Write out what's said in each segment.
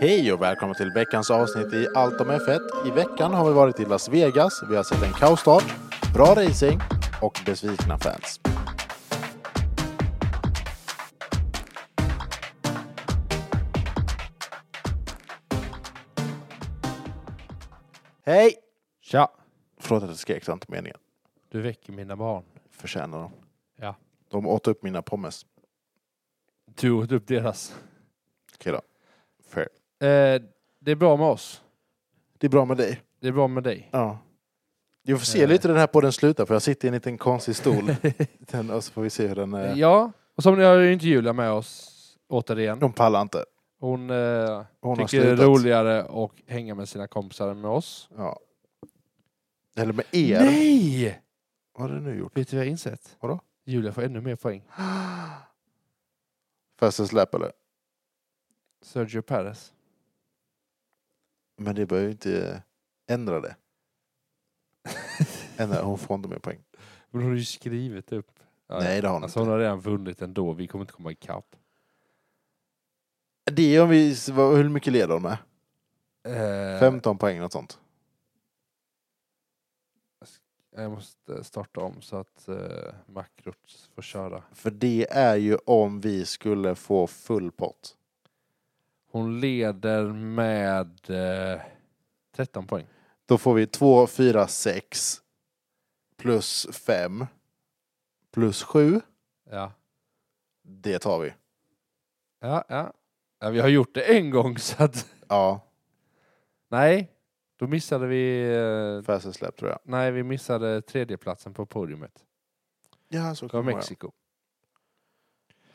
Hej och välkomna till veckans avsnitt i Allt om F1. I veckan har vi varit i Las Vegas. Vi har sett en kaosstart, bra racing och besvikna fans. Hej! Tja! Förlåt att jag skrek, det var inte meningen. Du väcker mina barn. Förtjänar de. Ja. De åt upp mina pommes. Du åt upp deras. Okej då. Fair. Eh, det är bra med oss. Det är bra med dig. Det är bra med dig. Ja. Jag får se Eh. lite hur den här podden slutar för jag sitter i en liten konstig stol. Den, och så får vi se hur den... eh, Ja, och som ni har ju inte Julia med oss återigen. De pallar inte. Hon, eh, Hon har tycker det är slutat. roligare att hänga med sina kompisar än med oss. Ja. Eller med er. Nej! Vad har du nu gjort? Vet du vad jag har insett? Vadå? Julia får ännu mer poäng. Fastest släpp eller? Sergio Perez. Men det behöver ju inte eh, ändra det. Ändra, hon får inte mer poäng. Men hon har ju skrivit upp. Ja, Nej det har hon Alltså inte. hon har redan vunnit ändå. Vi kommer inte komma ikapp. Det är om vi... vad- Hur mycket leder hon med? Eh, 15 poäng något sånt. Jag måste starta om så att eh, Makrot får köra. För det är ju om vi skulle få full pott. Hon leder med eh, 13 poäng. Då får vi 2, 4, 6 plus 5 plus 7. Ja. Det tar vi. Ja, ja. ja, vi har gjort det en gång så att... Ja, Nej, då missade vi... Eh, fastest släpp tror jag. nej, vi missade tredjeplatsen på podiumet. Ja, så Det var kan det vara. Mexiko.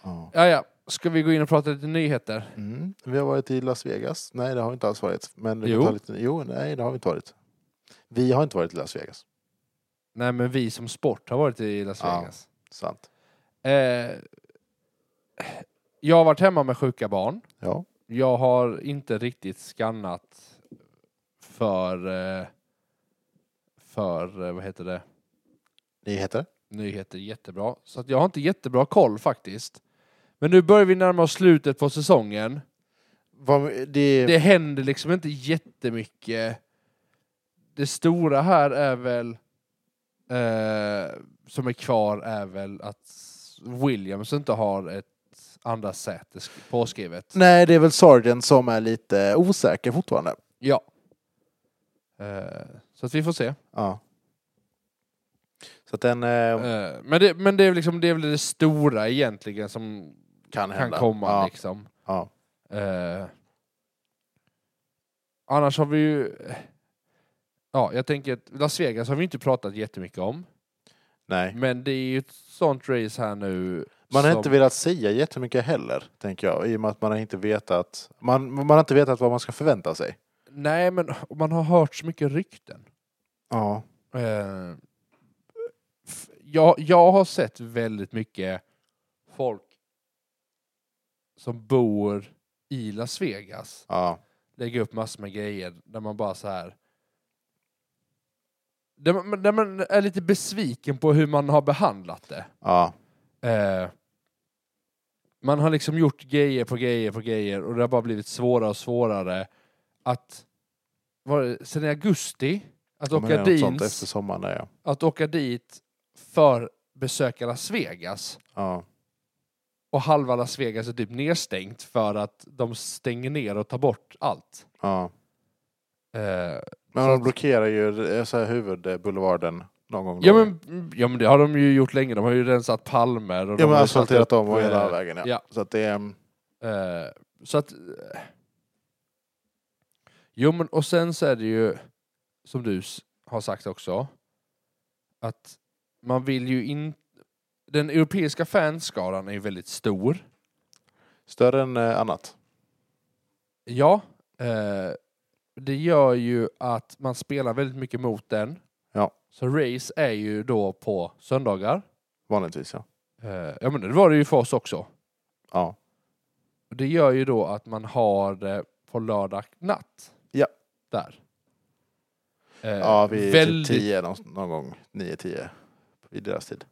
Ja. Ja, ja. Ska vi gå in och prata lite nyheter? Mm. Vi har varit i Las Vegas. Nej, det har vi inte alls varit. Men vi kan Jo. ta lite... jo, nej, det har vi inte varit. Vi har inte varit i Las Vegas. Nej, men vi som sport har varit i Las Ja. Vegas. Sant. Eh, jag har varit hemma med sjuka barn. Ja. Jag har inte riktigt skannat för eh, för eh, vad heter det Nyheter? nyheter jättebra. Så att jag har inte jättebra koll faktiskt. Men nu börjar vi närma oss slutet på säsongen. Vad, det... Det händer liksom inte jättemycket. Det stora här är väl eh, som är kvar är väl att Williams inte har ett andra säte sk- påskrivet. Nej, det är väl Sargent som är lite osäker fortfarande. Ja. Eh, så att vi får se. Ja. Så att den eh, Eh, men det, men det, är liksom, det är väl det stora egentligen som kan kan hända. komma. Ja. Liksom. Ja. Eh, annars har vi ju... Ja, jag tänker att Las Vegas har vi inte pratat jättemycket om. Nej. Men det är ju ett sånt race här nu. Man har som- inte velat säga jättemycket heller, tänker jag. I och med att man har inte vetat, man, man har inte vetat vad man ska förvänta sig. Nej, men man har hört så mycket rykten. Ja. Eh, f- jag, jag har sett väldigt mycket folk som bor i Las Vegas ja. lägga upp massor med grejer där man bara så här där man, där man är lite besviken på hur man har behandlat det. Ja. Eh, man har liksom gjort grejer på grejer på grejer och det har bara blivit svårare och svårare att var det, sen i augusti att Men det är åka något sånt dit efter sommaren, där, ja. att åka dit för besöka Las Vegas ja. och halva Las Vegas är typ nedstängt för att de stänger ner och tar bort allt. ja. Eh, Men Så de att- blockerar ju eh, så här huvudboulevarden någon gång. ja, då. men, mm, ja men det har de ju gjort länge, de har ju rensat palmer. Och de ja, har men alltså, ju asfalterat satt upp, om och hela eh, vägen. Ja. ja. Så att det är... mm, Eh, så att... eh. Jo, men och sen så är det ju, som du s- har sagt också, att man vill ju inte... Den europeiska fanskaran är ju väldigt stor. Större än eh, annat. Ja. Eh, det gör ju att man spelar väldigt mycket mot den. Ja. Så race är ju då på söndagar. Vanligtvis ja. Eh, ja, men det var det ju för oss också. Ja. Och Det gör ju då att man har det på lördag natt. Ja. Där. Eh, Ja, vi är väldigt, typ 10 någon, någon gång. 9-10 i deras tid.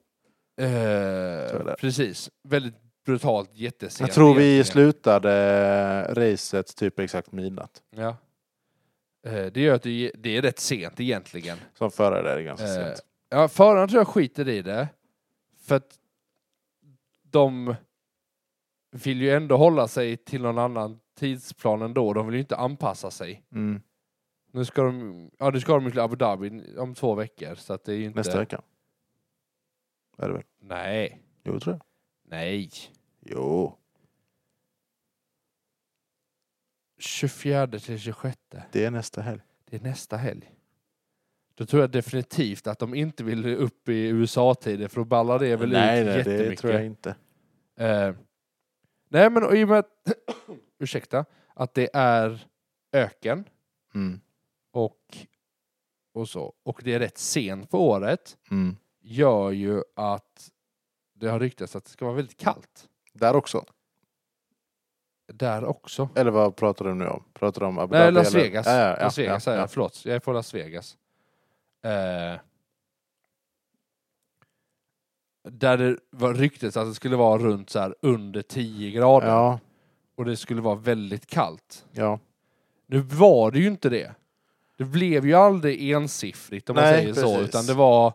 eh, där. precis. Väldigt brutalt jättesent. Jag tror vi egentligen. slutade racet typ exakt midnatt. Ja. Eh, Det gör att det ge- det är rätt sent egentligen. Som förare är det ganska Eh, sent. Ja, föraren tror jag skiter i det. För att de vill ju ändå hålla sig till någon annan tidsplan ändå. De vill ju inte anpassa sig. Mm. Nu ska de, ja, nu ska de ju till Abu Dhabi om två veckor. Så att det är ju inte... Nästa vecka. Är det väl? Nej. Jo, tror jag. Nej. Jo, 24 till 26. det är nästa helg. Det är nästa helg. Då tror jag definitivt att de inte vill upp i USA-tider för då ballar det väl nej, ut nej, det jättemycket. tror jag inte. Eh, nej, men och i och med att, ursäkta, att det är öken Mm. och, och så, och det är rätt sent på året, Mm. gör ju att det har ryktats att det ska vara väldigt kallt Där också. där också. Eller vad pratar du nu om? Pratar du om Abu Nej, Dhabi? Las eller? Vegas. Ja, ja, ja, Las Vegas ja, säger ja. jag, förlåt. Jag är från Las Vegas. Eh, där det var ryktes att det skulle vara runt så här under 10 grader Ja, och det skulle vara väldigt kallt. ja. Nu var det ju inte det. Det blev ju aldrig ensiffrigt om man Nej, säger så, precis. utan det var...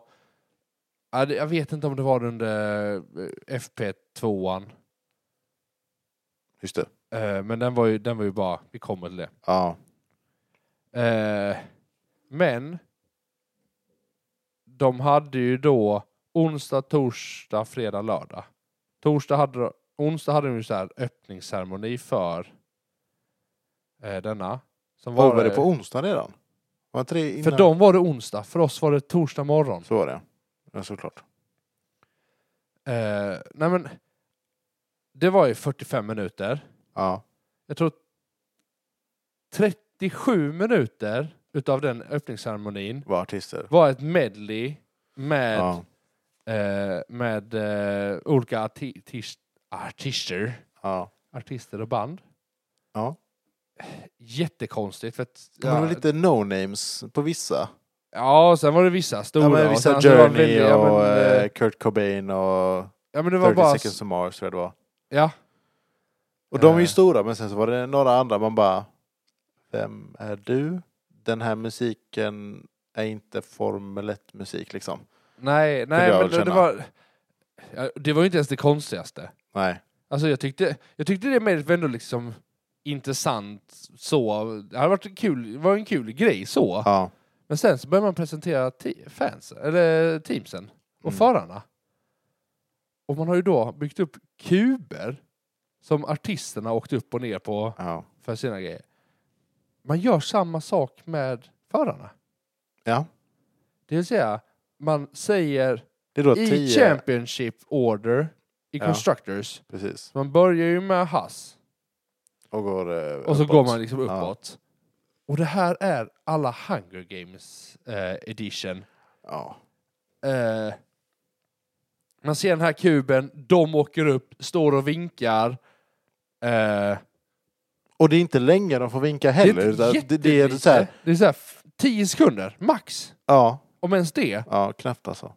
Ja, det- Jag vet inte om det var under eh, FP2an, Just det. eh, men den var, ju, den var ju bara, vi kommer till det. Ja. Eh, Men de hade ju då onsdag, torsdag, fredag, lördag. Torsdag hade de, onsdag hade de ju så här öppningsceremoni för eh, denna. Som Var, var det eh, på onsdag redan? Var inte det innan? För dem var det onsdag, för oss var det torsdag morgon. Så var det. Ja, såklart. Eh, nej men, det var ju 45 minuter. Ja. Jag tror 37 minuter utav den öppningsceremonin Var artister. var ett medley med, Ja. eh, med eh, olika arti- tis- artister, ja. artister och band. Ja. Jättekonstigt. För att, Men det var lite no-names på vissa. ja, sen var det vissa stora. Ja, men och vissa sen så var Alltså, det Journey väldigt- ja, men, och eh, eh, Kurt Cobain och ja, men det var 30 bara... Seconds to Mars tror jag det var. Ja, Och de är ju Eh. stora, men sen så var det några andra man bara... Vem är du? Den här musiken är inte Formel 1-musik liksom. Nej, jag nej men väl det, det känna. var... Ja, Det var ju inte ens det konstigaste. Nej. Alltså jag tyckte, jag tyckte det med var ändå liksom intressant så. Det hade varit en kul, var en kul grej så. Ja. Men sen så började man presentera ti- fans, eller teamsen och Mm. förarna. Och man har ju då byggt upp kuber som artisterna åkte upp och ner på ja. för sina grejer. Man gör samma sak med förarna. Ja. Det vill säga, man säger Det är då i 10... Championship Order i Ja. Constructors. Precis. Så man börjar ju med Haas Och går eh, och så uppåt. går man liksom Ja. uppåt. Och det här är alla Hunger Games eh, edition. Ja. Eh, man ser den här kuben, de åker upp, står och vinkar. Eh, Och det är inte länge de får vinka det är heller. inte utan Det, det är jättelite. så här... Det är så här f- 10 sekunder, max. Ja. Om ens det. Ja, knappt alltså.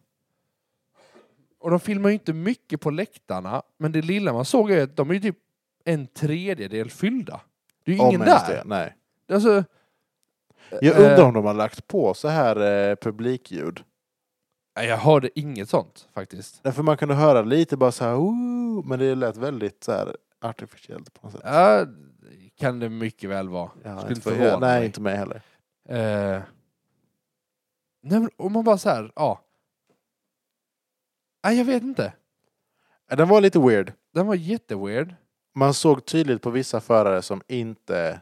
Och de filmar ju inte mycket på läktarna, men det lilla man såg är att de är ju typ en tredjedel fyllda. Det är ju ingen Om ens där. Det. Nej. Alltså, Jag undrar Eh. om de har lagt på så här eh, publikljud. nej, eh, jag hörde inget sånt faktiskt. Därför man kunde höra lite bara så här, "Ooh", men det lät väldigt så här artificiellt på något sätt. Ja, kan det mycket väl vara. Ja, Skulle inte för- förvåna Nej, mig. inte mig heller. Eh, nej, men om man bara så här, ja. Nej, jag vet inte. Eh, Den var lite weird. Den var jätteweird. Man såg tydligt på vissa förare som inte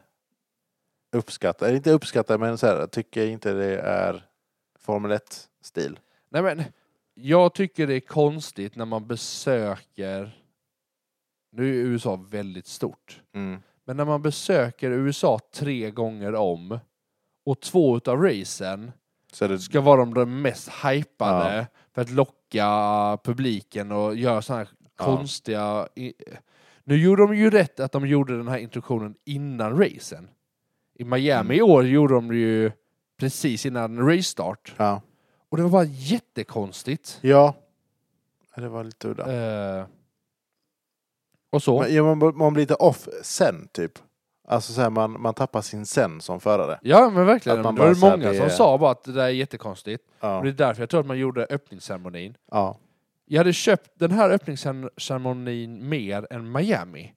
uppskattar, eller inte uppskattar, men så här, tycker inte det är Formel 1-stil. Nej, men jag tycker det är konstigt när man besöker... Nu är USA väldigt stort. Mm. Men när man besöker USA tre gånger om och två utav racen Så det, ska vara de, de mest hypade för att locka publiken och göra sådana här Ja. konstiga... i- Nu gjorde de ju rätt att de gjorde den här introduktionen innan racen. I Miami Mm. i år gjorde de det ju precis innan racestart. ja. Och det var bara jättekonstigt. ja. Ja, Det var lite udda. Eh, och så. Man, Eh, ja, man, man blir lite off sen typ. Alltså så här, man, man tappar sin sen som förare. ja men verkligen. att man Det var bara ju så här, många det som är- sa bara att det där är jättekonstigt. Ja. Och det är därför jag tror att man gjorde öppningsceremonin. Ja. Jag hade köpt den här öppningsceremonin mer än Miami.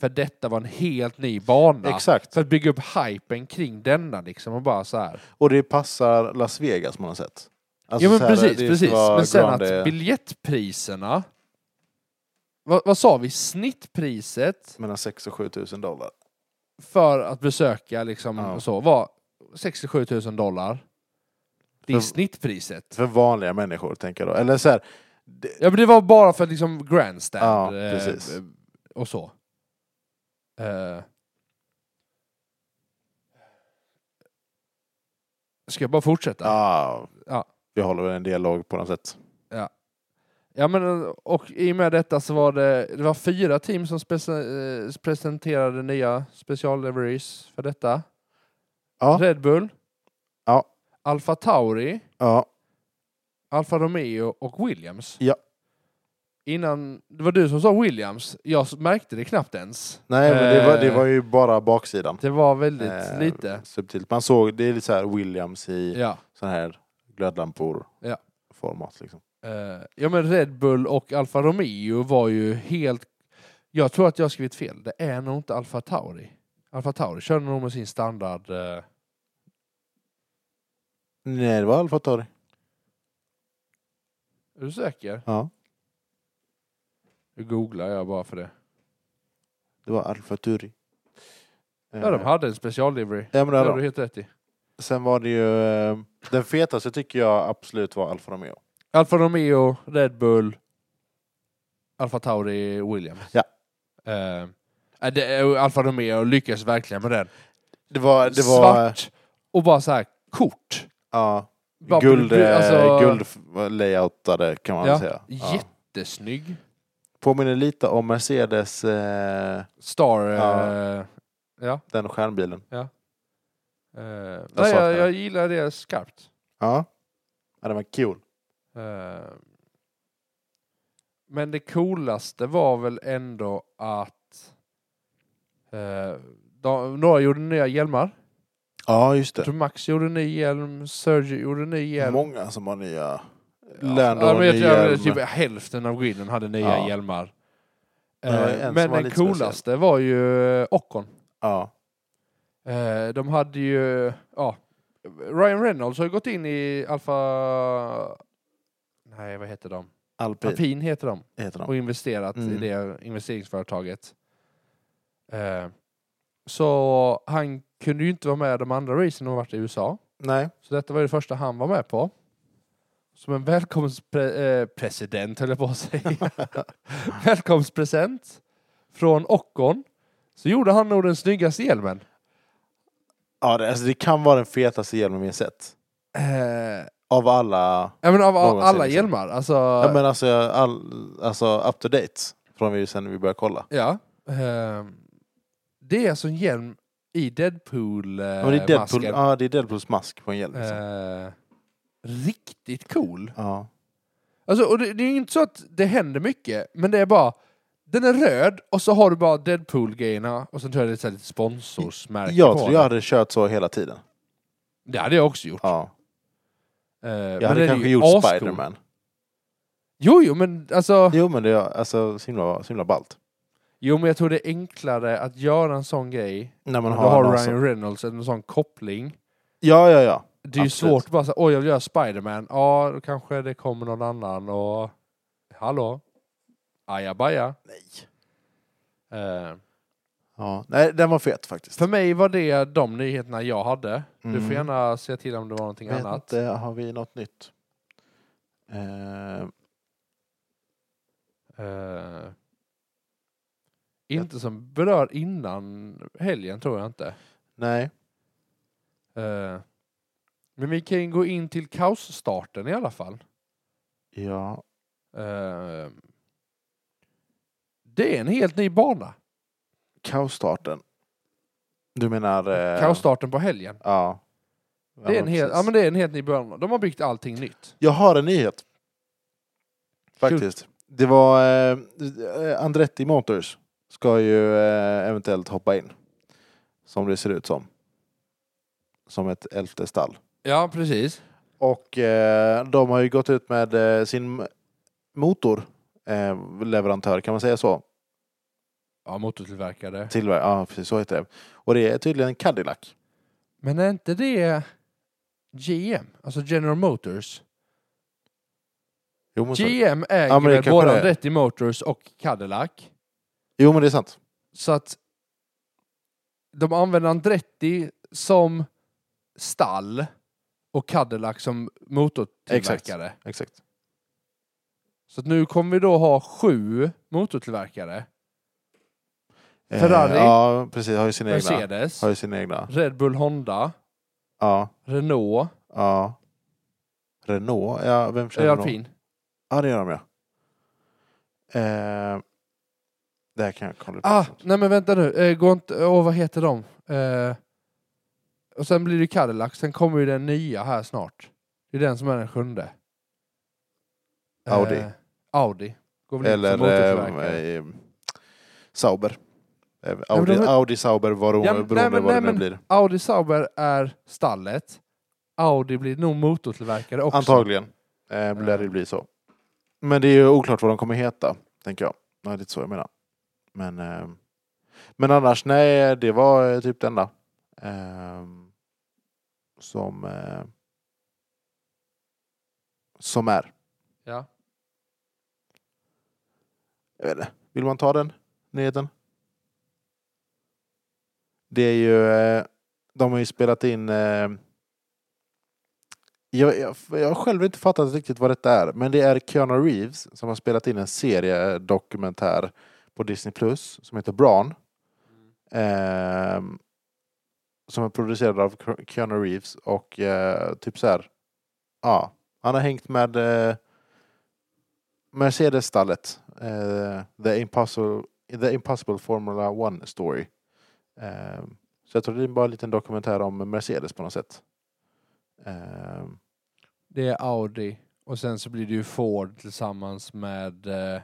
För detta var en helt ny bana. Exakt. För att bygga upp hypen kring denna liksom och bara så här. Och det passar Las Vegas på något sätt. Alltså, ja men så här, precis, det ska precis. vara Men sen grande- att biljettpriserna. Vad, vad sa vi? Snittpriset Mellan 6 och 7 tusen dollar. för att besöka liksom Ja. och så var 67 000 dollar. Det är För- snittpriset. För vanliga människor tänker jag då. Eller så här, det, Ja men det var bara för liksom grandstand Ja, eh, precis. eh, och så. Eh. Ska jag bara fortsätta? ja, Ja. ah, Vi håller väl en dialog på något sätt. Ja, men, och i och med detta så var det, det var fyra team som spec- eh, presenterade nya specialleveries för detta. Ja. Red Bull, Ja. Alfa Tauri, Ja, Alfa Romeo och Williams. Ja. Innan, det var du som sa Williams, jag s- märkte det knappt ens. nej men det var, det Eh. var ju bara baksidan. Det var väldigt Eh, lite. Subtilt. Man såg, det är lite så här Williams i Ja. sån här glödlampor Ja. format liksom. Eh, ja men Red Bull och Alfa Romeo var ju helt... Jag tror att jag har skrivit fel. Det är nog inte Alfa Tauri. Alfa Tauri körde nog med sin standard... eh, Nej, det var Alfa Tauri. Är du säker? Ja, Nu googlar jag bara för det. det var Alfa Tauri. Ja, de hade en speciallivery. Eh. Ja, men det Det hade har de. du helt rätt i. Sen var det ju... eh, Den fetaste tycker jag absolut var Alfa Romeo. Alfa Romeo, Red Bull, Alfa Tauri, Williams. Ja. Eh, eh, det, eh, Alfa Romeo lyckades verkligen med den. Det var... Det var Svart och bara så här kort. Ja. Bara- Guld, eh, alltså- guldlayoutade kan man Ja, säga. Ja. Jättesnygg. Påminner lite om Mercedes, eh, Star... eh, Ja. ja. den stjärnbilen. Eh, nej, saknar jag, det. jag gillar det skarpt. Ja. ja den var cool. Eh, men det coolaste var väl ändå att eh, de, några gjorde nya hjälmar. Ja, just Jag tror Max gjorde en ny hjälm, Sergio gjorde en ny hjälm. Många som har nya... Ja, Lando ja, har men jag ny tror att hjälm. Typ hälften av griden hade nya Ja. hjälmar. Men det var en Eh, som men var den lite speciell. coolaste var ju eh, Ockon. Ja. Eh, de hade ju, ja, Ryan Reynolds har ju gått in i Alfa... Nej, vad heter de? Alpin Alpin heter de. heter de. Och investerat i Mm. det investeringsföretaget. Eh, så han kunde ju inte vara med de andra racen och varit i USA. Nej. Så detta var ju det första han var med på. Som en välkomstpresident, höll jag på att säga. Välkomstpresent från Ockon. Så gjorde han nog den snyggaste hjälmen. Ja, det, alltså, det kan vara den fetaste hjälmen vi har sett. Eh, Av alla... Ja, men av av Någonsin, alla liksom. hjälmar. Alltså, Ja, men alltså, all, alltså up to date. Från vi, sen vi började kolla. ja. Ehm, det är alltså en hjälm i eh, Ja, men det är Deadpool, Deadpool-masken. ja, det är Deadpools mask på en hjälm. Eh. Liksom. riktigt cool. Ja. Alltså, och det, det är ju inte så att det händer mycket, men det är bara den är röd och så har du bara Deadpool-grejerna och sen tror jag det är så här lite sponsorsmärke Jag på tror den. jag hade kört så hela tiden. Det hade jag också gjort. Ja. Eh, men Jag hade den är kanske ju gjort ascool. Spiderman. Jo, jo, men alltså... Jo men det är alltså så himla, så himla ballt. Jo, men jag tror det är enklare att göra en sån grej. När man alltså. Men då har någon Ryan som- Reynolds en sån koppling Ja, ja, ja. Det är ju Absolut. svårt att bara säga, oj jag vill göra Spiderman, ja då kanske det kommer någon annan och hallå? Ajabaja. Nej. Eh, Ja. Nej, den var fet faktiskt. för mig var det de nyheterna jag hade. Du Mm. får gärna säga till om det var någonting Vet annat. inte, har vi något nytt? Eh, Eh, inte som berör innan helgen tror jag inte. nej. Eh, men vi kan ju gå in till kaosstarten i alla fall. Ja. Eh, det är en helt ny bana. Kaosstarten. Du menar... Eh, Kaosstarten på helgen. Ja. Ja, Det är, en helt, precis. ja, men det är en helt ny början. De har byggt allting nytt. Jag har en nyhet. Faktiskt. Det var eh, Andretti Motors ska ju eh, eventuellt hoppa in. Som det ser ut som. Som ett elfte stall. Ja, precis. Och eh, de har ju gått ut med eh, sin motorleverantör, kan man säga så? Ja, motortillverkare. Tillver- ja, precis så heter det. Och det är tydligen Cadillac. Men är inte det GM? Alltså General Motors? Jo men, så, GM äger Ja, men det väl kanske både det är. Andretti Motors och Cadillac. jo, men det är sant. Så att de använder Andretti som stall och Cadillac som motortillverkare. Exakt. Så att nu kommer vi då ha sju motortillverkare. Ferrari? Eh, ja, precis. Har ju sina egna. Mercedes, Har ju sina egna. Red Bull Honda, Ja, Renault, ja. Renault? Ja, vem kör är Renault? alpin. Ja, det gör de ja. Eh, det här kan jag kolla upp. Ah, nej men vänta nu. Eh, går inte, åh, vad heter de? Eh, och sen blir det Cadillac, sen kommer ju den nya här snart. Det är den som är den sjunde. Audi. Eh, Audi. Går väl Eller, Eller som motortillverkare. eh, eh, Sauber. Eh, men Audi, de är- Audi Sauber, vad det- Ja, men- beroende nej, men- vad det nej, nu men- blir. Audi Sauber är stallet. Audi blir nog motortillverkare också. Antagligen eh, lär det bli så. Men det är ju oklart vad de kommer heta, tänker jag. Nej, det är inte så jag menar. Men, eh, men annars, nej, det var eh, typ det enda. Eh, som, eh, som är. Ja. Jag vet inte. Vill man ta den nyheten? Det är ju... eh, De har ju spelat in... eh, Jag, jag, jag har själv inte fattat riktigt vad detta är. Men det är Keanu Reeves som har spelat in en serie dokumentär på Disney Plus som heter Bran. Ehm, som är producerad av Ke- Keanu Reeves och eh, typ så här. Ja, han har hängt med eh, Mercedes-stallet. eh, the, Impossible, the Impossible Formula One Story. Ehm, så jag tror det är bara en liten dokumentär om Mercedes på något sätt. Ehm, Det är Audi. Och sen så blir det ju Ford tillsammans med eh,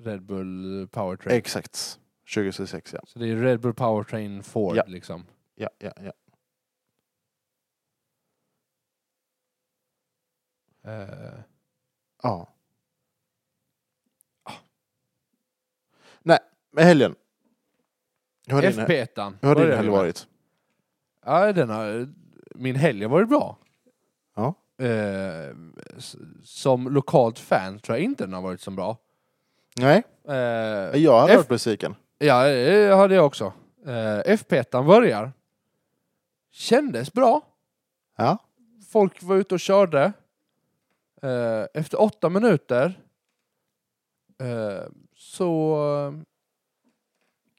Red Bull Powertrain. exakt. 2026 ja. så det är Red Bull Powertrain Ford Ja. liksom. ja, ja, ja. Eh, Ja. Ah. Nej, med helgen. Hur har din, hur FP1. har Vad är din det helg med? varit? Ja, den har, min helg har varit bra. Ja. Eh, s- som lokalt fan tror jag inte den har varit så bra. Nej, Eh, jag hade F- varit besviken. Ja, det hade jag också. Eh, FP1 börjar. Kändes bra. Ja. Folk var ute och körde. Eh, efter åtta minuter eh, så eh,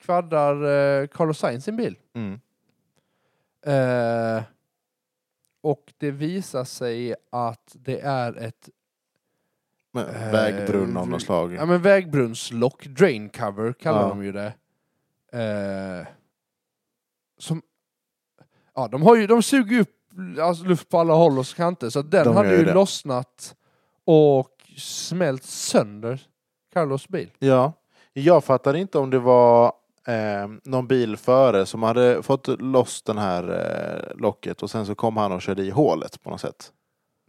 kvaddar eh, Carlos Sainz sin bil. Mm. Eh, och det visar sig att det är ett Men, Eh, vägbrunn av något slag. ja, men vägbrunnslock, drain cover kallar Ja. de ju det. Eh, som, ja, de, har ju, de suger ju upp alltså, luft på alla håll och kanter så att den De hade gör ju det. lossnat och smält sönder Carlos bil. Ja. Jag fattade inte om det var eh, någon bil före som hade fått loss den här eh, locket och sen så kom han och körde i hålet på något sätt.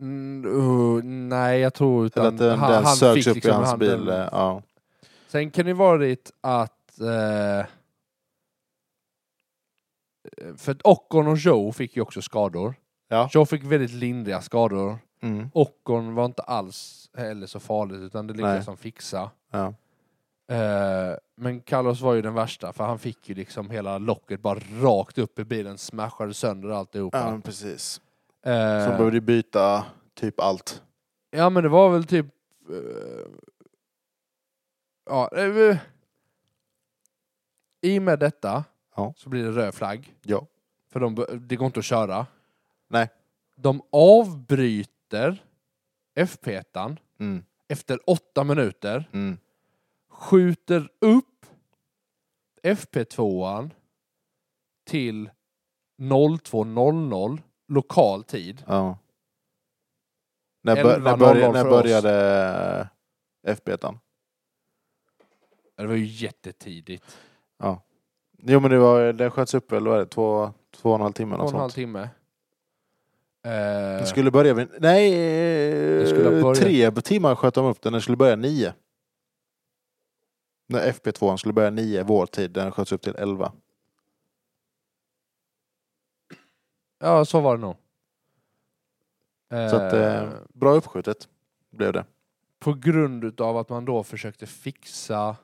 Mm, uh, nej, jag tror utan Eller att den, den sögs upp i liksom hans bil. eh, Ja. Sen kan det varit att eh, för att Ockon och Joe fick ju också skador. Ja. Joe fick väldigt lindriga skador. Mm. Ockon var inte alls heller så farligt utan det Nej. lyckades han fixa. Ja. Eh, men Carlos var ju den värsta för han fick ju liksom hela locket bara rakt upp i bilen, smashade sönder ja, alltihopa. men precis. Så Eh, de behövde byta typ allt. Ja men det var väl typ... eh, ja, eh, I och med detta Ja. så blir det röd flagg. Ja. För de, be- det går inte att köra. Nej. De avbryter FP1 Mm. efter åtta minuter, Mm. skjuter upp FP2 till 02.00 lokal tid. Ja. När, bör, när, 11.00 började, eh, när för oss. började FB1? Det var ju jättetidigt. Ja. Jo men det var, den sköts upp väl, vad är det, två, två och en halv timme? Två och något en halv sånt. timme. Eh, Den skulle börja vid, nej, eh, Den skulle ha börjat- tre timmar sköt de upp den, den skulle börja nio. När FP2 skulle börja nio, vår tid, den sköts upp till elva. Ja, så var det nog. Eh, Så att, eh, bra uppskjutet blev det. På grund utav att man då försökte fixa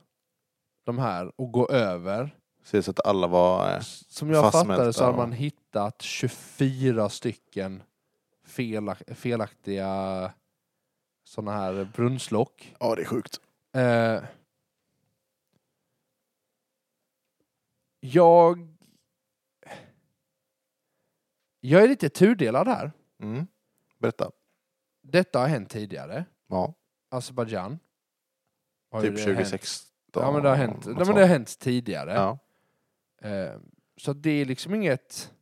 de här och gå över. Precis, så att alla var... Eh, Som jag Fastmälta, fattade så har ja. man hittat 24 stycken felak- felaktiga sådana här brunnslock. ja, det är sjukt. Eh, jag... Jag är lite tudelad här. Mm. Berätta. Detta har hänt tidigare. Ja, Azerbajdzjan. har ju typ det Hänt. 2016. Ja men det har hänt, något ja, men sånt. det har hänt tidigare. Ja. Eh, så det är liksom inget...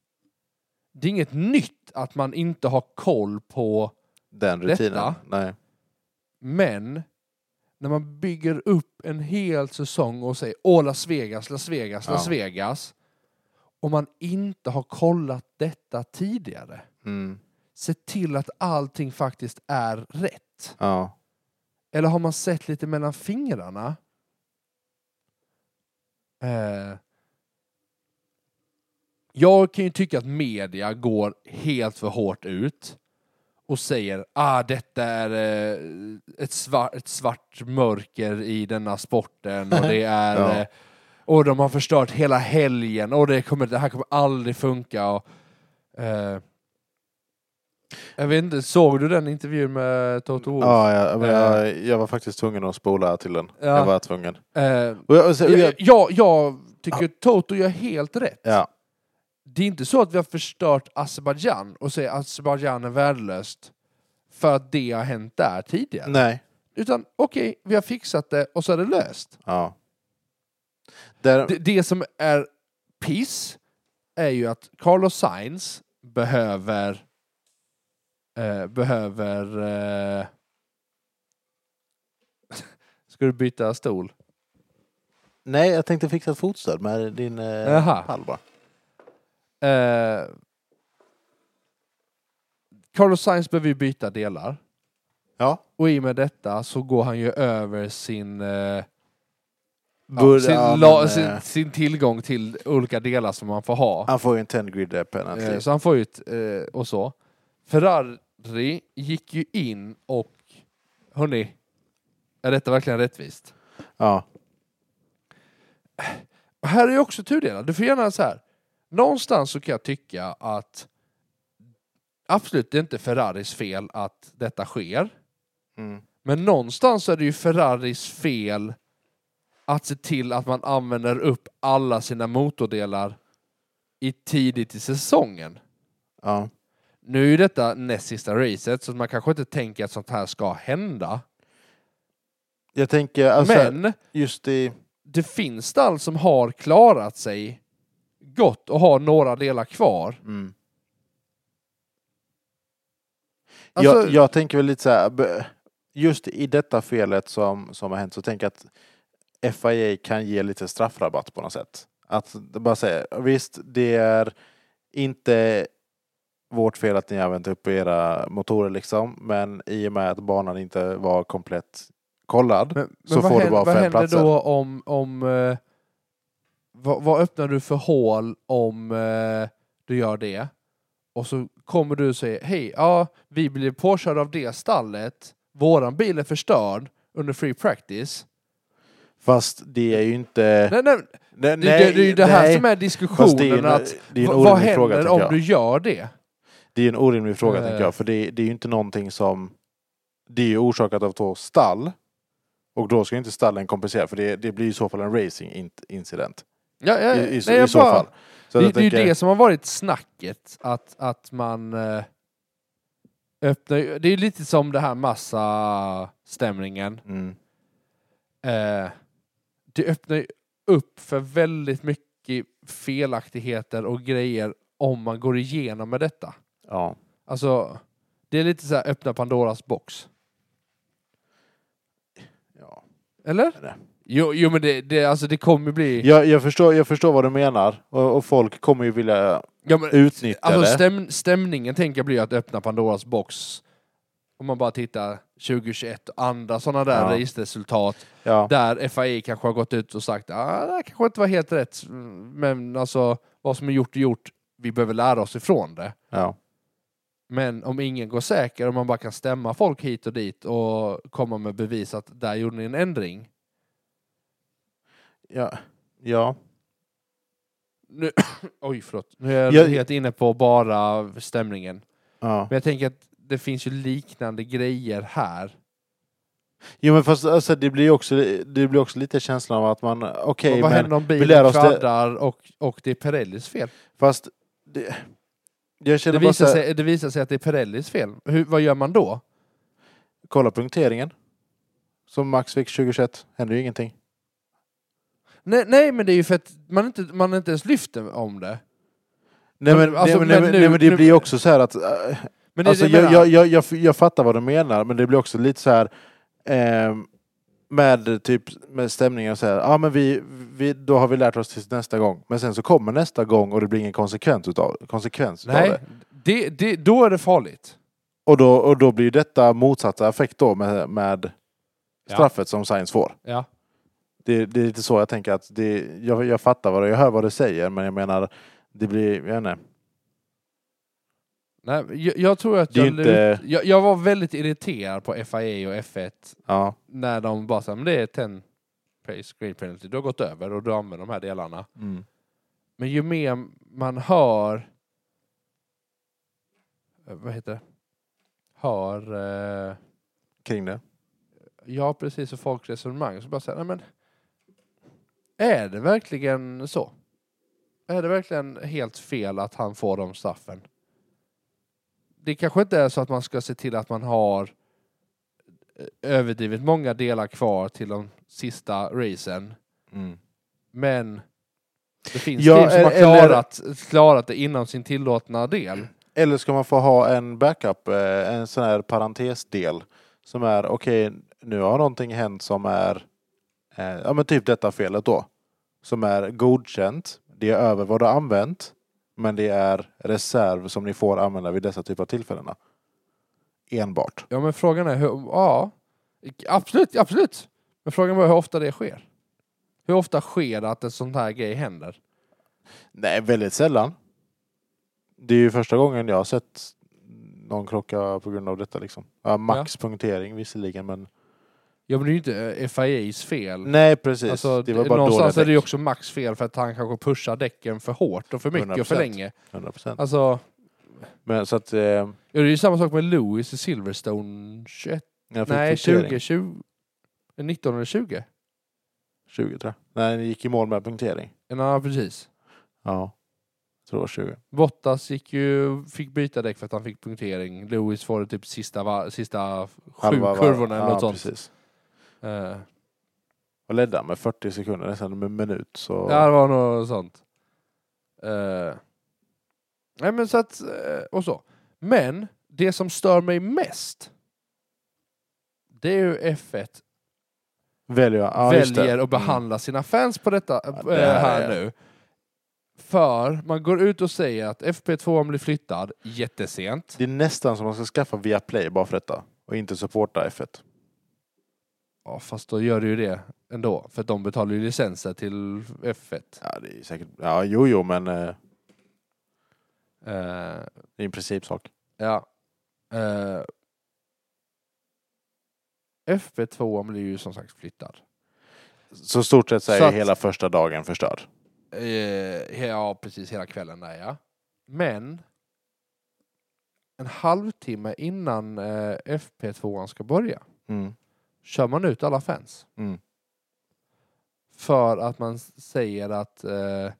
Det är inget nytt att man inte har koll på Den Detta. rutinen. Nej. Men när man bygger upp en hel säsong och säger Åh, Las Vegas, Las Vegas, Las Ja. Vegas och man inte har kollat detta tidigare. Mm. Se till att allting faktiskt är rätt. Ja. Eller har man sett lite mellan fingrarna? Eh, jag kan ju tycka att media går helt för hårt ut och säger ah, detta är eh, ett, svart, ett svart mörker i denna sporten och det är Ja. eh, och de har förstört hela helgen och det, kommer, det här kommer aldrig funka. Och, eh, jag vet inte, såg du den intervjun med Toto Wolff? Ja, jag, men Eh. jag, jag var faktiskt tvungen att spola till den. Ja. Jag var tvungen. Eh, Och jag, och så, och jag, jag, jag, jag tycker Toto gör helt rätt. ja, Det är inte så att vi har förstört Azerbajdzjan och säger att Azerbajdzjan är värdelöst för att det har hänt där tidigare. nej. Utan okej, vi har fixat det och så är det löst. Ja. Där, Det, det som är piss är ju att Carlos Sainz behöver eh, behöver eh... Ska du byta stol? nej, jag tänkte fixa ett fotstöd med din eh, Jaha. pall bara. Eh, Carlos Sainz behöver ju byta delar. Ja. Och i och med detta så går han ju över sin, eh, ja, Bur- sin, ja, la, men, eh, sin, sin tillgång till olika delar som man får ha. Han får ju en 10 grid eh, penalty. Eh, så han får ju ett, eh, och så. Ferrari gick ju in och, hörni, är detta verkligen rättvist? Ja. Och Här är ju också tudelad. Du får gärna så här. Någonstans så kan jag tycka att absolut, det är inte Ferraris fel att detta sker. Mm. Men någonstans är det ju Ferraris fel att se till att man använder upp alla sina motordelar i tidigt i säsongen. ja. Nu är ju detta näst sista racet, så man kanske inte tänker att sånt här ska hända. Jag tänker, alltså, Men just i... det finns stall som har klarat sig gott och har några delar kvar. Mm. Alltså, jag, jag tänker väl lite så här, b- just i detta felet som, som har hänt så tänker jag att FIA kan ge lite straffrabatt på något sätt. Att det bara säga, visst det är inte vårt fel att ni har vänt upp era motorer liksom, men i och med att banan inte var komplett kollad. Men, Så men vad får du hän- bara Vad fem händer platser. då om... om eh, vad, vad öppnar du för hål om eh, du gör det? Och så kommer du och säger hej, ja, vi blev påkörda av det stallet. Våran bil är förstörd under free practice. Fast det är ju inte... Nej, nej, Nej, det, det, det är ju det här nej. som är Fast det är diskussionen. en, att, det är en vad- vad orimlig händer fråga tänker om jag. du gör det? Det är en orimlig fråga Eh. tänker jag, för det, det är ju inte någonting som... Det är ju orsakat av två stall. Och då ska ju inte stallen kompensera, för det, det blir ju i så fall en racing-incident. Ja, ja, I, i, så- Eh, nej, i jag så bara- fall. Så det, jag det är ju tänker- det som har varit snacket, att, att man eh, öppnar ju- Det är ju lite som det här massa-stämningen. Mm, Eh, det öppnar ju upp för väldigt mycket felaktigheter och grejer om man går igenom med detta. ja. Alltså, det är lite så här öppna Pandoras box. ja. Eller? Det är det. Jo, jo men det, det, alltså, det kommer bli... Jag, jag, förstår, jag förstår vad du menar och, och folk kommer ju vilja Ja, men, utnyttja Alltså det. stäm, stämningen tänker jag blir att öppna Pandoras box. Om man bara tittar 2021 och andra sådana där Ja. registerresultat Ja. där FAI kanske har gått ut och sagt ah, det här kanske inte var helt rätt men alltså vad som är gjort är gjort. Vi behöver lära oss ifrån det. Ja. Men om ingen går säker och man bara kan stämma folk hit och dit och komma med bevis att där gjorde ni en ändring. Ja. ja. Nu, oj förlåt, nu är jag, Jag- helt inne på bara stämningen. ja. Men jag tänker att det finns ju liknande grejer här. Jo men fast alltså, det, blir ju också, det blir också lite känslan av att man, okej Och vad men händer om lär bilen oss det- kvaddar och, och det är Pirellis fel? fast det, jag Det känner bara visar, såhär, sig, det visar sig att det är Pirellis fel. Hur, vad gör man då? kolla punkteringen. Som Max fick 2021, händer ju ingenting. Nej, nej men det är ju för att man inte, man inte ens lyfter om det. Nej Men, men, alltså, nej, men, men nej, nu- men det nu- blir ju också så här att äh, Men det är Alltså, det jag jag, menar. jag, jag, jag, f- jag fattar vad du menar, men det blir också lite så här ehm, med typ med stämningen och så här, ja ah, men vi, vi, då har vi lärt oss till nästa gång. Men sen så kommer nästa gång och det blir ingen konsekvens utav, konsekvens utav nej, det. det, det, då är det farligt. Och då, och då blir ju detta motsatta effekt då med, med Ja. straffet som Science får. Ja. Det, det är lite så jag tänker att det, jag, jag fattar vad du, jag hör vad du säger, men jag menar, det blir, jag vet inte. Nej, jag, jag tror att Det är jag, inte- lut, jag, jag var väldigt irriterad på FIA och F1 Ja, när de bara sa men det är 10 pace green penalty, du har gått över och du använder de här delarna. mm. Men ju mer man hör... eh, Vad heter det? Hör... Eh, kring det. ja, precis. Och folk resonemang. Så bara säger nej men... Är det verkligen så? Är det verkligen helt fel att han får de straffen? Det kanske inte är så att man ska se till att man har eh, överdrivet många delar kvar till de sista racen. Mm. Men det finns Ja, team som har eller- klarat, klarat det inom sin tillåtna del. Eller ska man få ha en backup, eh, en sån här parentesdel som är okej, nu har någonting hänt som är, eh, ja men typ detta felet då, som är godkänt, det är över vad du har använt, men det är reserv som ni får använda vid dessa typer av tillfällena. Enbart. Ja, men frågan är hur... Ja, absolut, absolut. Men frågan var hur ofta det sker. Hur ofta sker det att en sån här grej händer? Nej, väldigt sällan. Det är ju första gången jag har sett någon krocka på grund av detta liksom. Ja, max punktering visserligen men... Ja, men det är ju inte eh, FIAs fel. Alltså, Nej precis, det var bara någonstans dåliga är det ju däck. också Max fel för att han kanske pushar däcken för hårt och för mycket och för 100%. länge. 100%. Alltså, Men så att... Eh, ja, det är ju samma sak med Lewis i Silverstone 21. jag fick Nej, punktering. 20, 20... 19 eller 20? 20 tror jag. Nej, ni gick i mål med punktering. Ja, precis. Ja. Jag tror det var 20. Bottas gick ju, fick byta däck för att han fick punktering. Lewis får det typ sista, va, sista sju Halva var- kurvorna eller något sånt. precis. Eh, Och ledde med 40 sekunder, nästan en minut. Så... ja, det var något sånt. Eh, nej men så att, eh, och så. Men det som stör mig mest det är ju F1 Väljer, jag. ja, just det. Mm. väljer att behandla sina fans på detta det eh, här här är- nu. För man går ut och säger att FP2 blir flyttad jättesent. Det är nästan som man ska skaffa via Play bara för detta. Och inte supporta F1. Ja, fast då gör du ju det ändå. För att de betalar ju licenser till F1. Ja, det är säkert... Ja, jo, jo, men eh, Eh, det är en principsak. ja. Eh, FP2 blir ju som sagt flyttad. Så stort sett så är Så att- hela första dagen förstörd. Eh, ja, precis. Hela kvällen där, ja. Men en halvtimme innan eh, FP2 ska börja Mm. kör man ut alla fans. Mm. För att man s- säger att eh,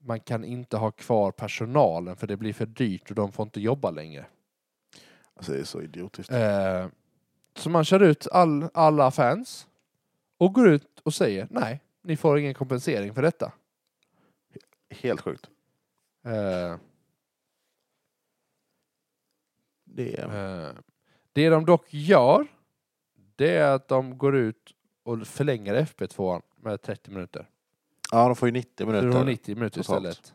man kan inte ha kvar personalen för det blir för dyrt och de får inte jobba längre. Alltså, det är så idiotiskt. Eh, så man kör ut all, alla fans och går ut och säger nej, ni får ingen kompensering för detta. Helt sjukt. Eh, Det är... eh, det de dock gör, det är att de går ut och förlänger FP2 med 30 minuter. Ja, de får ju 90 Så det var minuter. 90 minuter totalt. istället.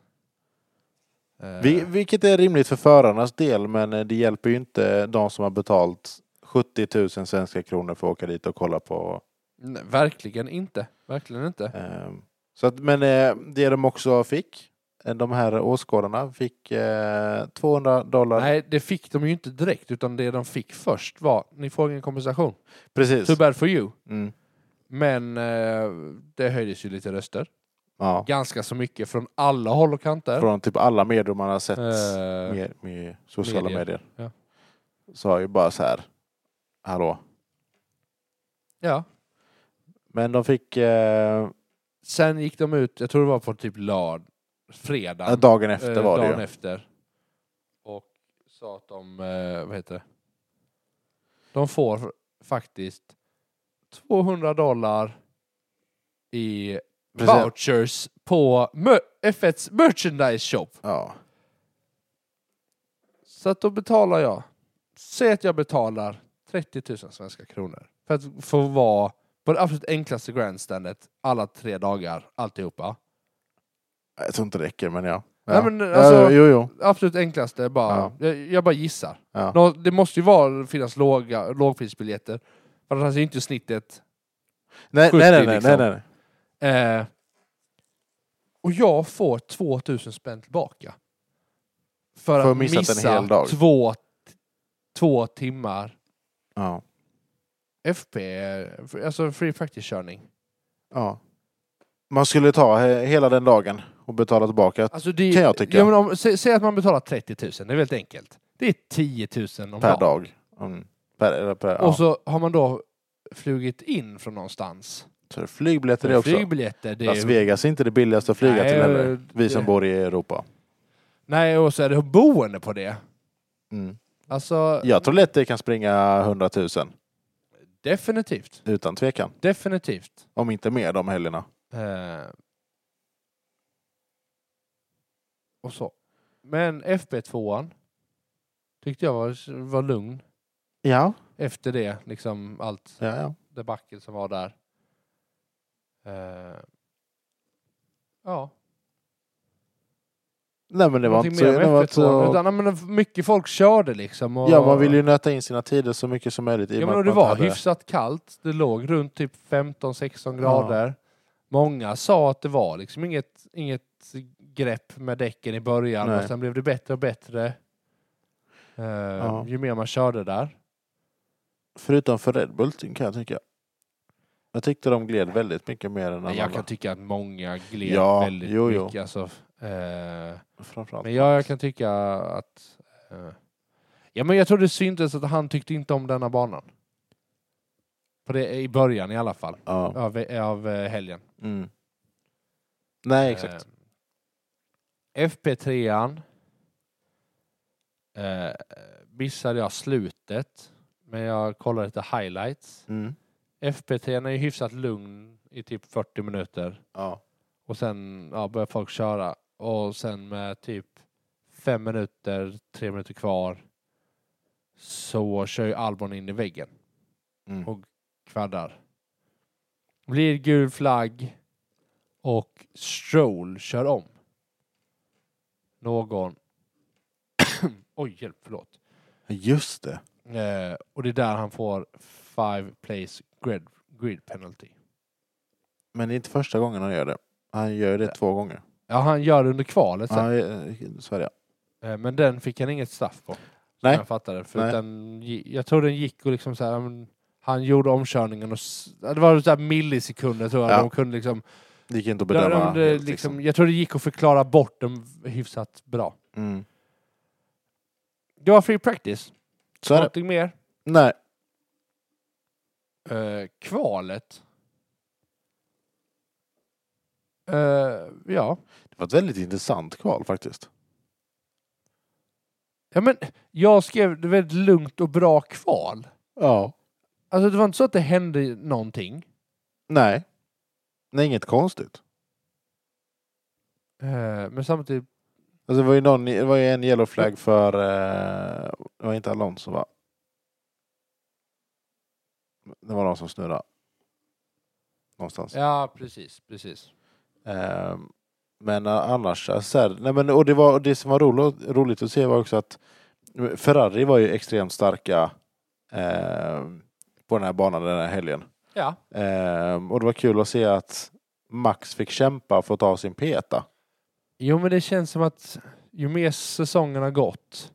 Eh, Vi, vilket är rimligt för förarnas del, men eh, det hjälper ju inte de som har betalt 70 000 svenska kronor för att åka dit och kolla på. nej, verkligen inte. Verkligen inte. ehm, Så att, men eh, det de också fick, eh, de här åskådarna, fick eh, 200 dollar. Nej, det fick de ju inte direkt, utan det de fick först var, ni får ingen kompensation. Precis. Too bad for you. Mm. Men eh, det höjdes ju lite röster. Ja. Ganska så mycket från alla håll och kanter. Från typ alla medier man har sett Eh, med, med sociala medier. medier. Ja. Sa ju bara så här, hallå. ja. Men de fick eh, Sen gick de ut, jag tror det var på typ lördag, fredag. dagen efter eh, var det dagen ju. efter. Och sa att de, eh, vad heter det? De får faktiskt 200 dollar i Precis. vouchers på mer- F1s merchandise shop. Ja. Så att då betalar jag. Säg att jag betalar 30 000 svenska kronor för att få vara på det absolut enklaste grandstandet alla tre dagar, alltihopa. Jag tror inte det räcker, men ja. ja. Nej, men alltså- jo, jo. Absolut enklaste, bara, jag, jag bara gissar. Ja. Nå, det måste ju vara, finnas låga, lågprisbiljetter, för annars är ju inte snittet. Nej, 70 nej, nej, nej, liksom. nej, nej. Eh, och jag får 2000 spänn tillbaka. För, För att att missat missa en hel dag. Två, två timmar Ja. FP, eh, alltså free practice-körning. ja. Man skulle ta he- hela den dagen och betala tillbaka Alltså det, Kan jag tycka. Ja, men om, sä, säg att man betalar 30 000, det är väldigt enkelt. Det är 10 000 om per dagen. dag. Mm. Per, eller per, ja. Och så har man då flugit in från någonstans. så är det flygbiljetter det också. Flygbiljetter, det Las är, Vegas är inte det billigaste att flyga Nej, till heller. det- Vi som bor i Europa. Nej, och så är det boende på det. Mm. Alltså, Jag tror lätt det kan springa 100 000 definitivt. utan tvekan. Definitivt. Om inte mer de helgerna. Eh. Och så. Men FP2an tyckte jag var, var lugn Ja, efter det, liksom allt ja, ja. debacle som var där. Eh, ja, Nej, men det var inte så... mer Det om var F1 inte så... utan, ja, men, mycket folk körde liksom. Och, Ja, man vill ju nöta in sina tider så mycket som möjligt. i och Ja, med men att och det man inte var hade- hyfsat kallt. Det låg runt typ 15-16 Ja. grader. Många sa att det var liksom inget, inget grepp med däcken i början, Nej. men sen blev det bättre och bättre. eh, Ja. Ju mer man körde där. Förutom för Red Bull kan jag tycka. Jag tyckte de gled väldigt mycket mer än Men alla. jag kan tycka att många gled Ja, väldigt jo, jo. mycket. Alltså, eh, Framförallt. Men jag, jag kan tycka att... eh, ja, men jag tror det syntes att han tyckte inte om denna banan. På det, I början i alla fall, Ja. av, av eh, helgen. Mm. Nej, exakt. Eh, FP3an eh, missade jag slutet, men jag kollade lite highlights. Mm. FP3an är ju hyfsat lugn i typ 40 minuter. Ja. Och sen ja, börjar folk köra. Och sen med typ fem minuter, tre minuter kvar så kör ju Albon in i väggen. Mm. Och kvaddar. Blir gul flagg och Stroll kör om. Någon. Oj, hjälp, förlåt. Just det. Eh, och det är där han får five place grid, grid penalty. Men det är inte första gången han gör det. Han gör det Ja. två gånger. Ja, han gör det under kvalet sen. Ja, eh, så är det. Eh, Men den fick han inget straff på. Nej. Nej. Jag fattade. För Nej. den, gi- jag tror den gick och liksom så här, ja, men han gjorde omkörningen och s- ja, det var så här millisekunder tror jag. Ja. De kunde liksom, Det gick inte att där, bedöma. de, det, helt, liksom, Jag tror det gick att förklara bort den hyfsat bra. Mm. Det var free practice. Så är det. Någonting mer? Nej. Eh, kvalet. Eh, ja. Det var ett väldigt intressant kval faktiskt. ja, men jag skrev det var ett lugnt och bra kval. Ja. Alltså det var inte så att det hände någonting. Nej. Nej, inget konstigt. Eh, men samtidigt Alltså, det, var ju någon, det var ju en yellow flag för... Eh, det var inte Alonso va? Det var någon som snurrade. någonstans. Ja, precis, precis. Ehm, men eh, annars, eh, så här, nej men, och det, var, det som var roligt, roligt att se var också att Ferrari var ju extremt starka eh, på den här banan den här helgen. Ja, Ehm, och det var kul att se att Max fick kämpa för att ta sin peta. Jo, men det känns som att ju mer säsongen har gått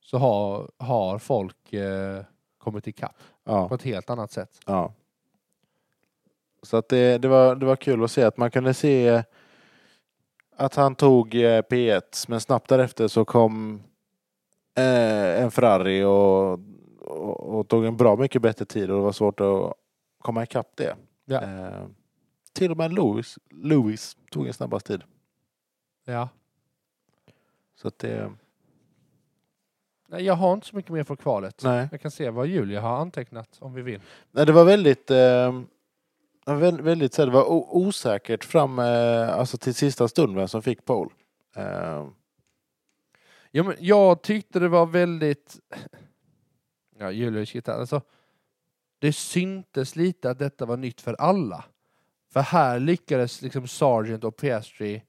så har, har folk eh, kommit ikapp på Ja, ett helt annat sätt. ja. Så att det, det, var, det var kul att se att man kunde se att han tog eh, P1 men snabbt därefter så kom eh, en Ferrari och, och, och tog en bra mycket bättre tid och det var svårt att komma ikapp det. Ja. Eh, till och med Lewis, Lewis tog en snabbast tid. Ja. Så att det, Nej, jag har inte så mycket mer från kvalet. nej. Jag kan se vad Julia har antecknat om vi vill. Nej, det var väldigt, eh, väldigt, väldigt så här, det var o- osäkert fram eh, alltså till sista stund vem som fick pole. Eh, Ja, men jag tyckte det var väldigt... Ja, Julia Kittar, alltså Det syntes lite att detta var nytt för alla. För här lyckades liksom Sargent och Piastri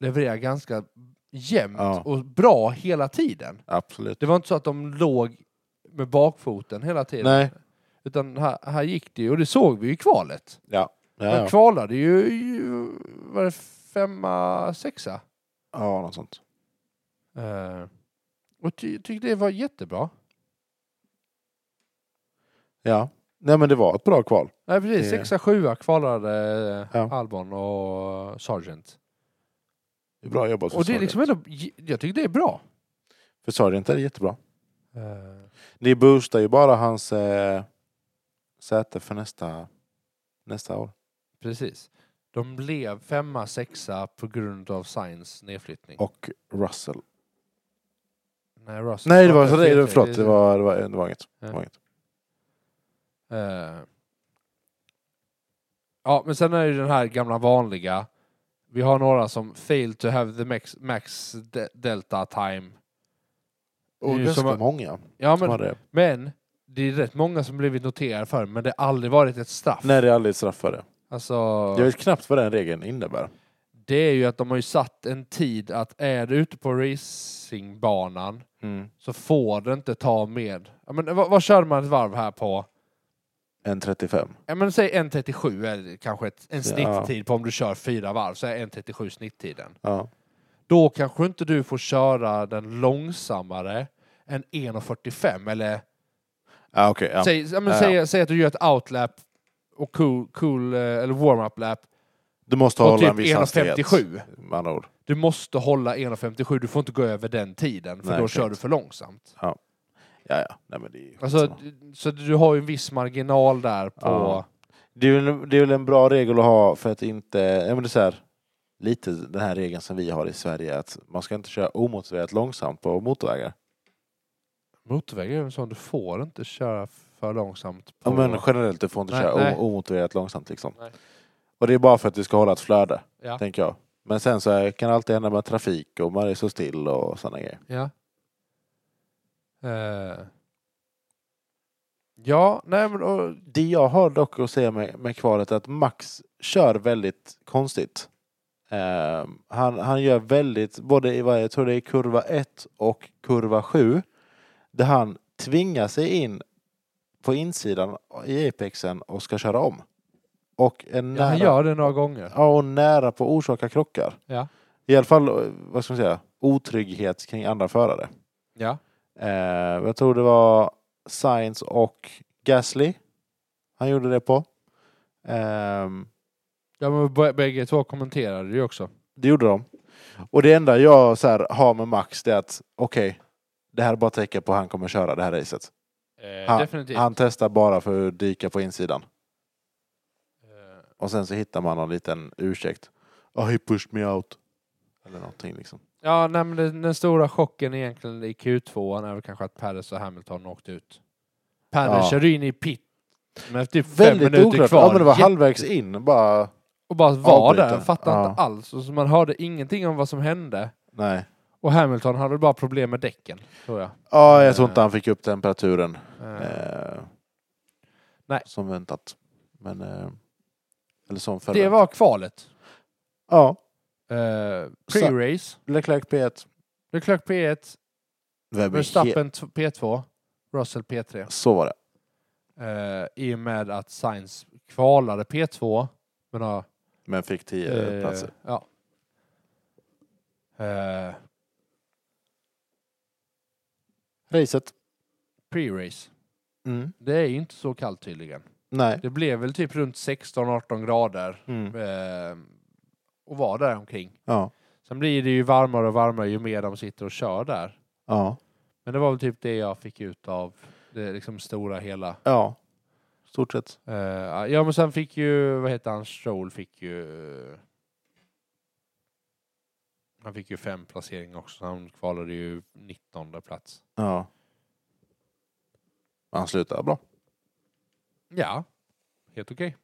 leverera ganska jämnt Ja. och bra hela tiden. absolut. Det var inte så att de låg med bakfoten hela tiden. Nej. Utan här, här gick det ju, och det såg vi ju i kvalet. Ja, De ja. kvalade ju, ju var det femma, sexa? ja, något sånt. Eh, och ty, tyckte det var jättebra. Ja. Nej, men det var ett bra kval. Nej precis, Det- sexa, sjua kvalade Ja. Albon och Sargent. Det är Bra jobbat för Och det är Sargent. liksom ändå, jag tycker det är bra. För Sargent är det jättebra. Eh, Det boostar ju bara hans eh, säte för nästa, nästa år. precis. De blev femma, sexa på grund av Sainz nedflyttning. Och Russell. Nej, Russell Nej, det var, startade det, fel. förlåt, det var, det var, det var inget. Det var inget. Eh. Ja, men sen är det ju den här gamla vanliga. Vi har några som fail to have the max, max de- delta time. Och Det är ju ganska som att- många Ja, som men, hade det. men det är rätt många som blivit noterade för det, men det har aldrig varit ett straff. Nej, det är aldrig straffade. Alltså, Jag vet knappt vad den regeln innebär. Det är ju att de har ju satt en tid att är du ute på racingbanan Mm. så får du inte ta med... Ja, men, vad, vad kör man ett varv här på? En 35. Ja, men säg 1.37 är det kanske ett, en snitttid på om du kör fyra varv, så är 1.37 snitttiden. Ja. Då kanske inte du får köra den långsammare än 1.45 eller Ja, okej. ja. säg, ja, men, Ja, säg, säg att du gör ett outlap och cool, cool eh, eller warm-up lap Du måste på hålla typ en viss hastighet. 1.57. Med andra ord. Du måste hålla 1.57, du får inte gå över den tiden för Nej, då exakt. kör du för långsamt. Ja, ja. Nej, men det är ju Alltså, skitsamma. d- så du har ju en viss marginal där på... Ja. det, är väl en, det är väl en bra regel att ha för att inte... Ja, men det är så här, lite den här regeln som vi har i Sverige att man ska inte köra omotiverat långsamt på motorvägar. Motorväg är ju en sån, du får inte köra för långsamt. På... Ja, men generellt, du får inte Mm. Nej, köra nej. o- omotiverat långsamt liksom. Nej. Och det är bara för att du ska hålla ett flöde, Ja. tänker jag. Men sen så här, kan det alltid hända med trafik och man är så still och sådana grejer. Ja. Eh. Ja, nej men och, Det jag har dock att säga med, med kvalet är att Max kör väldigt konstigt. Ehm, han, han gör väldigt, både i vad jag tror det är kurva 1 och kurva 7, där han tvingar sig in på insidan i apexen och ska köra om. Och är ja, nära, han gör det några gånger. ja, och nära på att orsaka krockar. Ja. I alla fall, eh, vad ska man säga, otrygghet kring andra förare. Ja. Eh, jag tror det var Sainz och Gasly han gjorde det på. Ehm, ja men b- bägge två kommenterade det ju också. det gjorde de. Och det enda jag så här, har med Max det är att okej, det här är bara tecken på att han kommer köra det här racet. Eh, Han- definitivt. Han testar bara för att dyka på insidan. Eh, Och sen så hittar man någon liten ursäkt. Oh, he pushed me out. Eller någonting liksom. Ja, nej, men den, den stora chocken egentligen i Q2 är väl kanske att Perez och Hamilton åkte ut. Perez Ja. körde in i pit med typ fem Väldigt minuter oklart. kvar. Ja, men det var Jätte- halvvägs in bara. Och bara var Avbryta. där, fattade inte alls. Och så man hörde ingenting om vad som hände. Nej. Och Hamilton hade väl bara problem med däcken, tror jag. Ja, Ah, jag tror inte han fick upp Eh, temperaturen. Eh, Eh, Nej. Som väntat. Men eh, Eller som Det förvänt. var kvalet. Ja, Eh, Pre-race. Leclerc P1. Leclerc P1, Webber he- Verstappen t- P2, Russell P3. Så var det. Eh, I och med att Sainz kvalade P2, men har Men fick 10 Eh, platser. Ja. Eh, Racet. Pre-race. Mm. Det är ju inte så kallt tydligen. Nej. Det blev väl typ runt 16-18 grader Mm. eh, och var där omkring. Ja. Sen blir det ju varmare och varmare ju mer de sitter och kör där. Ja. Men det var väl typ det jag fick ut av det liksom stora hela. Ja. Stort sett. Eh, ja men sen fick ju, vad heter han, Stroll fick ju... Han fick ju fem placeringar också, så han kvalade ju 19 plats. Ja. Han slutade bra. Ja, helt okej.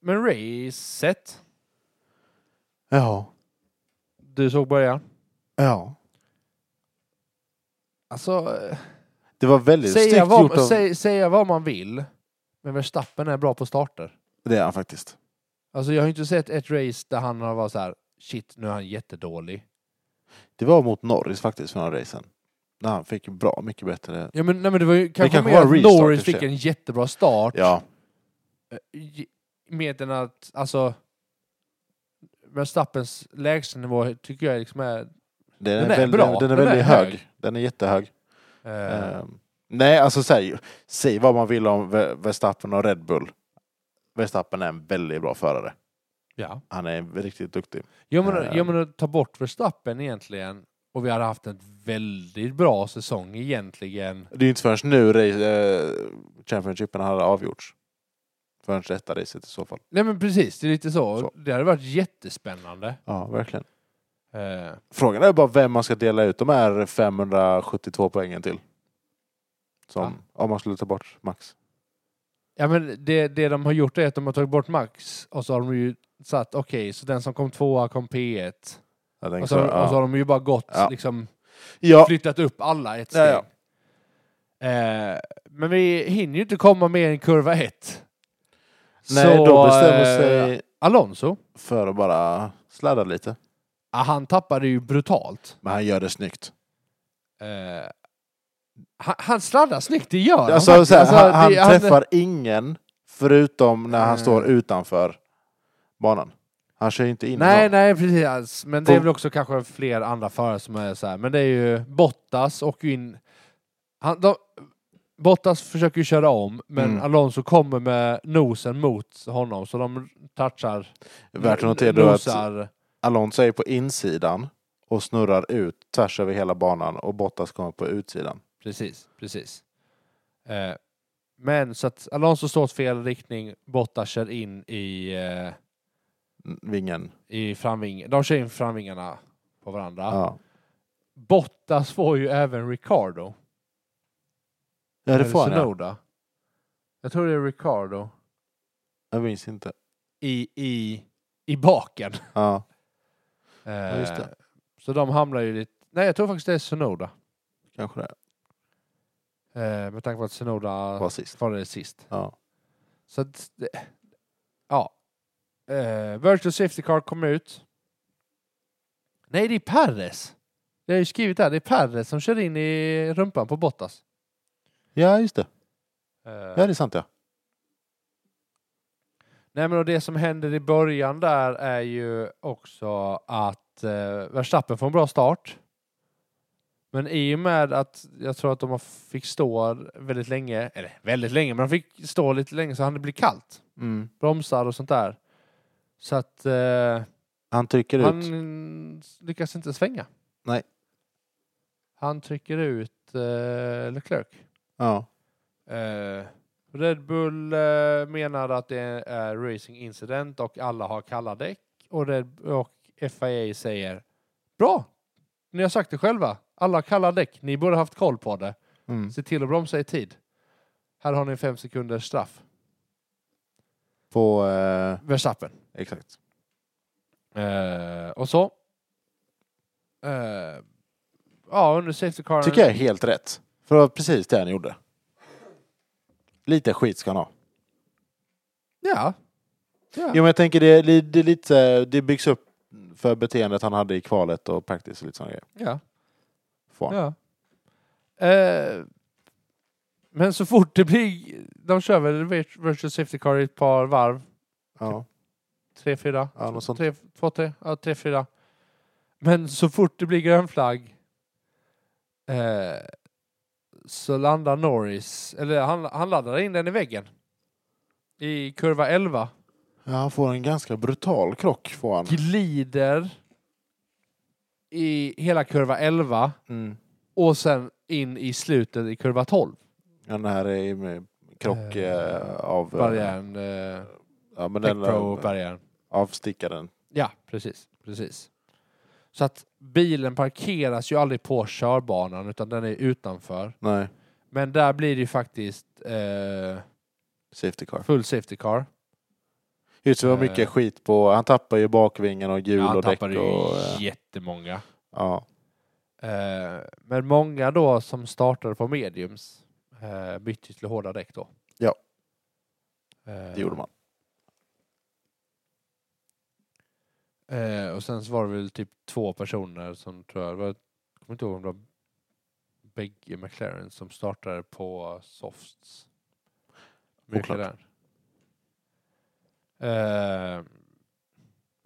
Men racet, Ja. du såg början. Ja. Alltså, eh, Det var väldigt säga snyggt gjort vad, av... säg, säga vad man vill, men Verstappen är bra på starter. Det är han faktiskt. Alltså jag har inte sett ett race där han har varit så här, shit nu är han jättedålig. Det var mot Norris faktiskt för några racen. När han fick bra, mycket bättre... Ja men, nej, men det var ju kanske, kanske var en mer att restart i och Norris för sig. fick en jättebra start. Ja. eh, Med än att, alltså, Verstappens lägstanivå tycker jag liksom är... Den, Den är, är väldigt, bra. Den är Den är väldigt hög. hög. Den är jättehög. eh, Ehm, nej, alltså säg, säg vad man vill om Ver- Verstappen och Red Bull. Verstappen är en väldigt bra förare. ja. Han är riktigt duktig. Jag menar, Eh. jag menar ta bort Verstappen egentligen och vi hade haft en väldigt bra säsong egentligen. Det är ju inte förrän nu race, eh, Championshipen hade avgjorts. Förrän detta racet i så fall. Nej men precis, det är lite så. Så. Det hade varit jättespännande. Ja, verkligen. Eh, Frågan är bara vem man ska dela ut de här 572 poängen till. Som, Om man skulle ta bort Max. ja men det, det de har gjort är att de har tagit bort Max och så har de ju satt okej, så den som kom tvåa kom P1. Jag tänker Och så, så, och så ja. har de ju bara gått, Ja. liksom ja, flyttat upp alla ett steg. Ja, ja. Eh, men vi hinner ju inte komma mer än kurva ett. nej, Så, då bestämmer eh, sig Alonso, för att bara sladda lite. ah, han tappade ju brutalt. Men han gör det snyggt. Eh, han, han sladdar snyggt, det gör han Alltså, faktiskt. så här, Alltså, han, han det- träffar ingen förutom när han Mm. står utanför banan. Han kör ju inte in i Nej, någon. nej, precis. alls. Men det är På- väl också kanske fler andra förare som är så här. Men det är ju Bottas och ju in... Han, de, Bottas försöker ju köra om, men Mm. Alonso kommer med nosen mot honom, så de touchar, Värt att notera då att nosar. Alonso är på insidan och snurrar ut tvärs över hela banan och Bottas kommer på utsidan. Precis, precis. Eh, men så att Alonso står åt fel riktning, Bottas kör in i, eh, N- Vingen. i framvingen. De kör in framvingarna på varandra. Ja. Bottas får ju även Ricardo. Ja, det Eller får han. Ja. Sonoda. Jag tror det är Ricardo. Jag minns inte. I, i, i baken. Ja. Eh, just det. Så de hamnar ju lite... Nej, jag tror faktiskt det är Sonoda. Kanske det Eh, med tanke på att Sonoda var sist. var det sist. Ja. Så att... Det... Ja. Eh, Virtual Safety Car kom ut. Nej, det är Perres. Det har ju skrivit där. Det är Perres som kör in i rumpan på Bottas. ja, just det. Eh, Ja, det är sant ja. Nej men och det som händer i början där är ju också att eh, Verstappen får en bra start. Men i och med att jag tror att de har- fick stå väldigt länge, eller väldigt länge, men de fick stå lite länge så han det blir kallt. Mm. Bromsar och sånt där. Så att eh, Han trycker han ut. mm, lyckas inte svänga. Nej. Han trycker ut eh, Leclerc. Ja. Eh, Red Bull eh, menar att det är racing incident och alla har kalla däck. Och, Red, och FIA säger bra, ni har sagt det själva. Alla har kalla däck, ni borde haft koll på det. Mm. Se till att bromsa i tid. Här har ni fem sekunders straff. På... Eh, Verstappen. exakt. Eh, och så. Eh, ja, under safety car. Tycker jag är helt rätt. För det var precis det han gjorde. Lite skit ska han ha. Ja, Ja. Jo, men jag tänker det, är li- det, är lite, så här- det byggs upp för beteendet han hade i kvalet och practice och lite sådana grejer. ja. Får han. Ja. Eh, men så fort det blir... De kör väl vir- Virtual Safety Car i ett par varv? Ja. Tre, fyra? Ja, något sånt. Tre, två, tre? Ja, tre, fyra. Men så fort det blir grön flagg eh, så landar Norris... Eller han, han laddar in den i väggen. I kurva 11. Ja, han får en ganska brutal krock. Får han. Glider i hela kurva 11 Mm. och sen in i slutet i kurva 12. Ja, Den här är ju med krock Eh, eh, av... eh, Barriären. Eh, Ja, men den, eh, Pro-barriären. avstickaren. Ja, precis. precis. Så att bilen parkeras ju aldrig på körbanan utan den är utanför. Nej, Men där blir det ju faktiskt eh, safety car. full safety car. Just det, det var Eh. mycket skit på... Han tappar ju bakvingen och hjul Ja, han och däck. Och, tappade ju eh, jättemånga. ja. Eh, men många då som startade på mediums eh, bytte till hårda däck då. Ja. Eh, Det gjorde man. Eh, och sen så var det väl typ två personer som tror jag, det var, jag kommer inte ihåg om det var bägge McLaren som startade på softs. Mycket Oklart. där. Eh,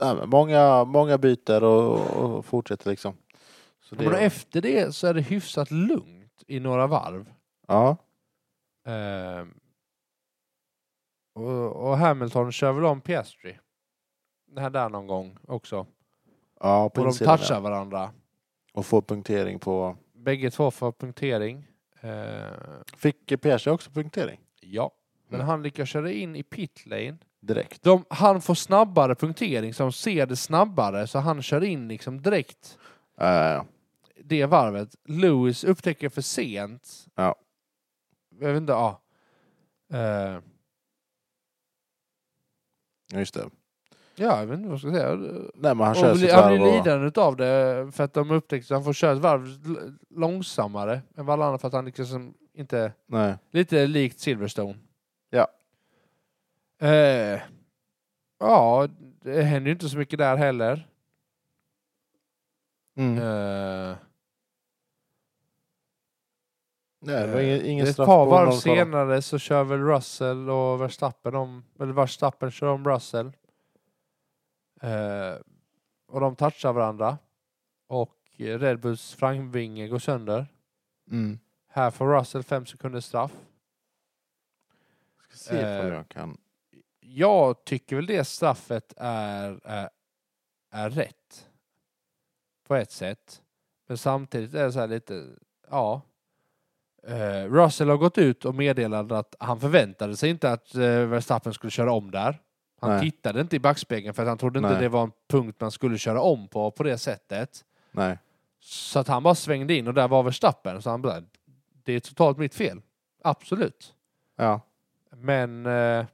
Nej, men många, många byter och, och fortsätter liksom. Så men efter det så är det hyfsat lugnt i några varv. ja, Eh, och, och Hamilton kör väl om Piastri. Det här där någon gång också. ja, på Och de insidan, ja. touchar varandra. Och får punktering på... Bägge två får punktering. Eh, Fick Piaget också punktering? ja. Men Mm. han lyckas köra in i pit lane. Direkt. De, han får snabbare punktering, så de ser det snabbare, så han kör in liksom direkt Eh, det varvet. Lewis upptäcker för sent. Ja. Jag vet inte, ja. Eh, Ja, just det. ja, jag vet inte vad jag ska säga. Nej, men han kör Han, blir, sitt han blir varv och... lidande utav det för att de upptäckte att han får köra ett varv l- långsammare än vad alla andra för att han liksom inte... Nej. Lite likt Silverstone. Ja. Eh, ja, det händer ju inte så mycket där heller. Mm. Eh, Nej, det var ingen, ingen ett straff par på varv någon fara. senare så kör väl Russell och Verstappen om... Eller Verstappen kör om Russell. Eh, och de touchar varandra. Och eh, Red Bulls framvinge går sönder. Mm. Här får Russell fem sekunder straff. Ska se ifall Eh. jag kan... Jag tycker väl det straffet är, är, är rätt. På ett sätt. Men samtidigt är det så här lite, ja. Eh, Russell har gått ut och meddelat att han förväntade sig inte att eh, Verstappen skulle köra om där. Han Nej. tittade inte i backspegeln för att han trodde inte Nej. det var en punkt man skulle köra om på, på det sättet. Nej. Så att han bara svängde in och där var Verstappen. Så han bara, det är totalt mitt fel. Absolut. Ja. Men eh,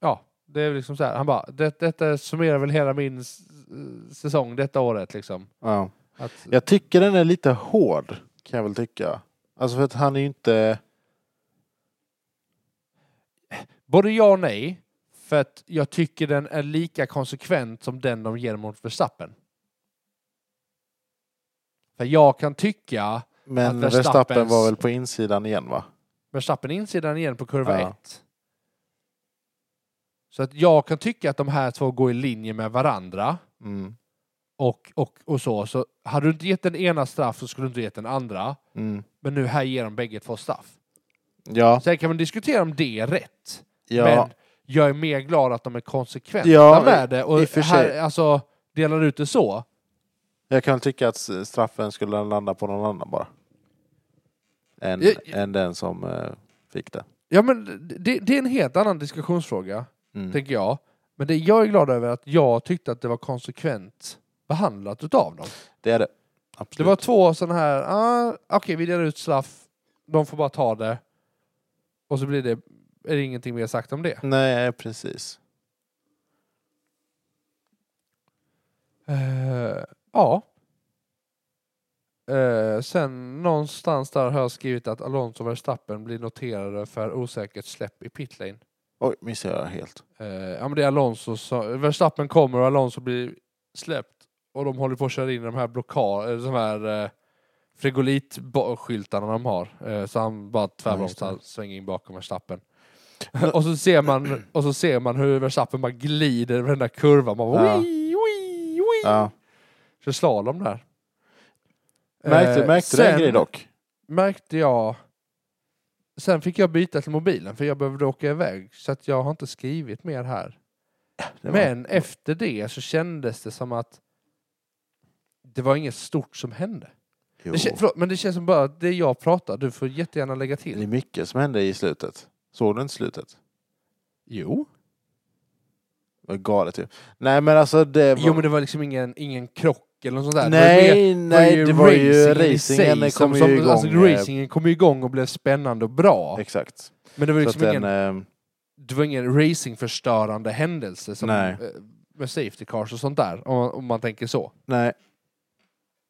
ja, det är liksom så här. Han bara, det, detta summerar väl hela min s- s- säsong detta året liksom. ja. Att, Jag tycker den är lite hård, kan jag väl tycka. Alltså för att han är ju inte... Både ja och nej, för att jag tycker den är lika konsekvent som den de ger mot Verstappen. För jag kan tycka Men Att Verstappens- Verstappen var väl på insidan igen va? Verstappen insidan igen på kurva Ja. ett. Så att jag kan tycka att de här två går i linje med varandra. Mm. och, och, och så. så. Hade du inte gett den ena straff så skulle du inte gett den andra. Mm. Men nu här ger de bägge två straff. Ja. Sen kan man diskutera om det är rätt. Ja. Men jag är mer glad att de är konsekventa Ja, med det. Och i och för här, sig. alltså, delar ut det så. Jag kan tycka att s- straffen skulle landa på någon annan bara. Än, Jag- än den som eh, fick det. Ja, men det, det är en helt annan diskussionsfråga, Mm. tänker jag. Men det jag är glad över är att jag tyckte att det var konsekvent behandlat utav dem. Det är det. Det Absolut. var två sådana här, ah, okej vi delar ut straff, de får bara ta det. Och så blir det, är det ingenting mer sagt om det. Nej, precis. Eh, ja. Eh, sen någonstans där har jag skrivit att Alonso och Verstappen blir noterade för osäkert släpp i pitlane. Oj, missade jag helt. Eh, ja men det är Alonso som, Verstappen kommer och Alonso blir släppt och de håller på att köra in i de här blockad, de här eh, frigolitskyltarna de har. Eh, så han bara tvärbromsar, Ja, just svänger in bakom Verstappen. och, så ser man, och så ser man hur Verstappen bara glider över den där kurvan. Man bara, Ja. "Oi, oi, oi." Ja. Kör slalom där. Märkte, Eh, märkte du en sen- grej dock? märkte jag... Sen fick jag byta till mobilen för jag behövde åka iväg så att jag har inte skrivit mer här. Det var- Men efter det så kändes det som att det var inget stort som hände. Jo. Det kän, förlåt, men det känns som bara att det jag pratar, du får jättegärna lägga Det till. är mycket som hände i slutet. Såg du inte slutet? Jo. Det var galet ju. Nej men alltså det var... Jo men det var liksom ingen, ingen krock eller något sånt där. det var nej, mer- nej, det var ju i sig racingen det kom som, ju igång. som, alltså, eh, racingen kom ju igång och blev spännande och bra. Exakt. Men det var Så att liksom ingen den, eh, det var ingen racingförstörande händelse som Nej. eh, med safety cars och sånt där, om man, om man tänker så. nej.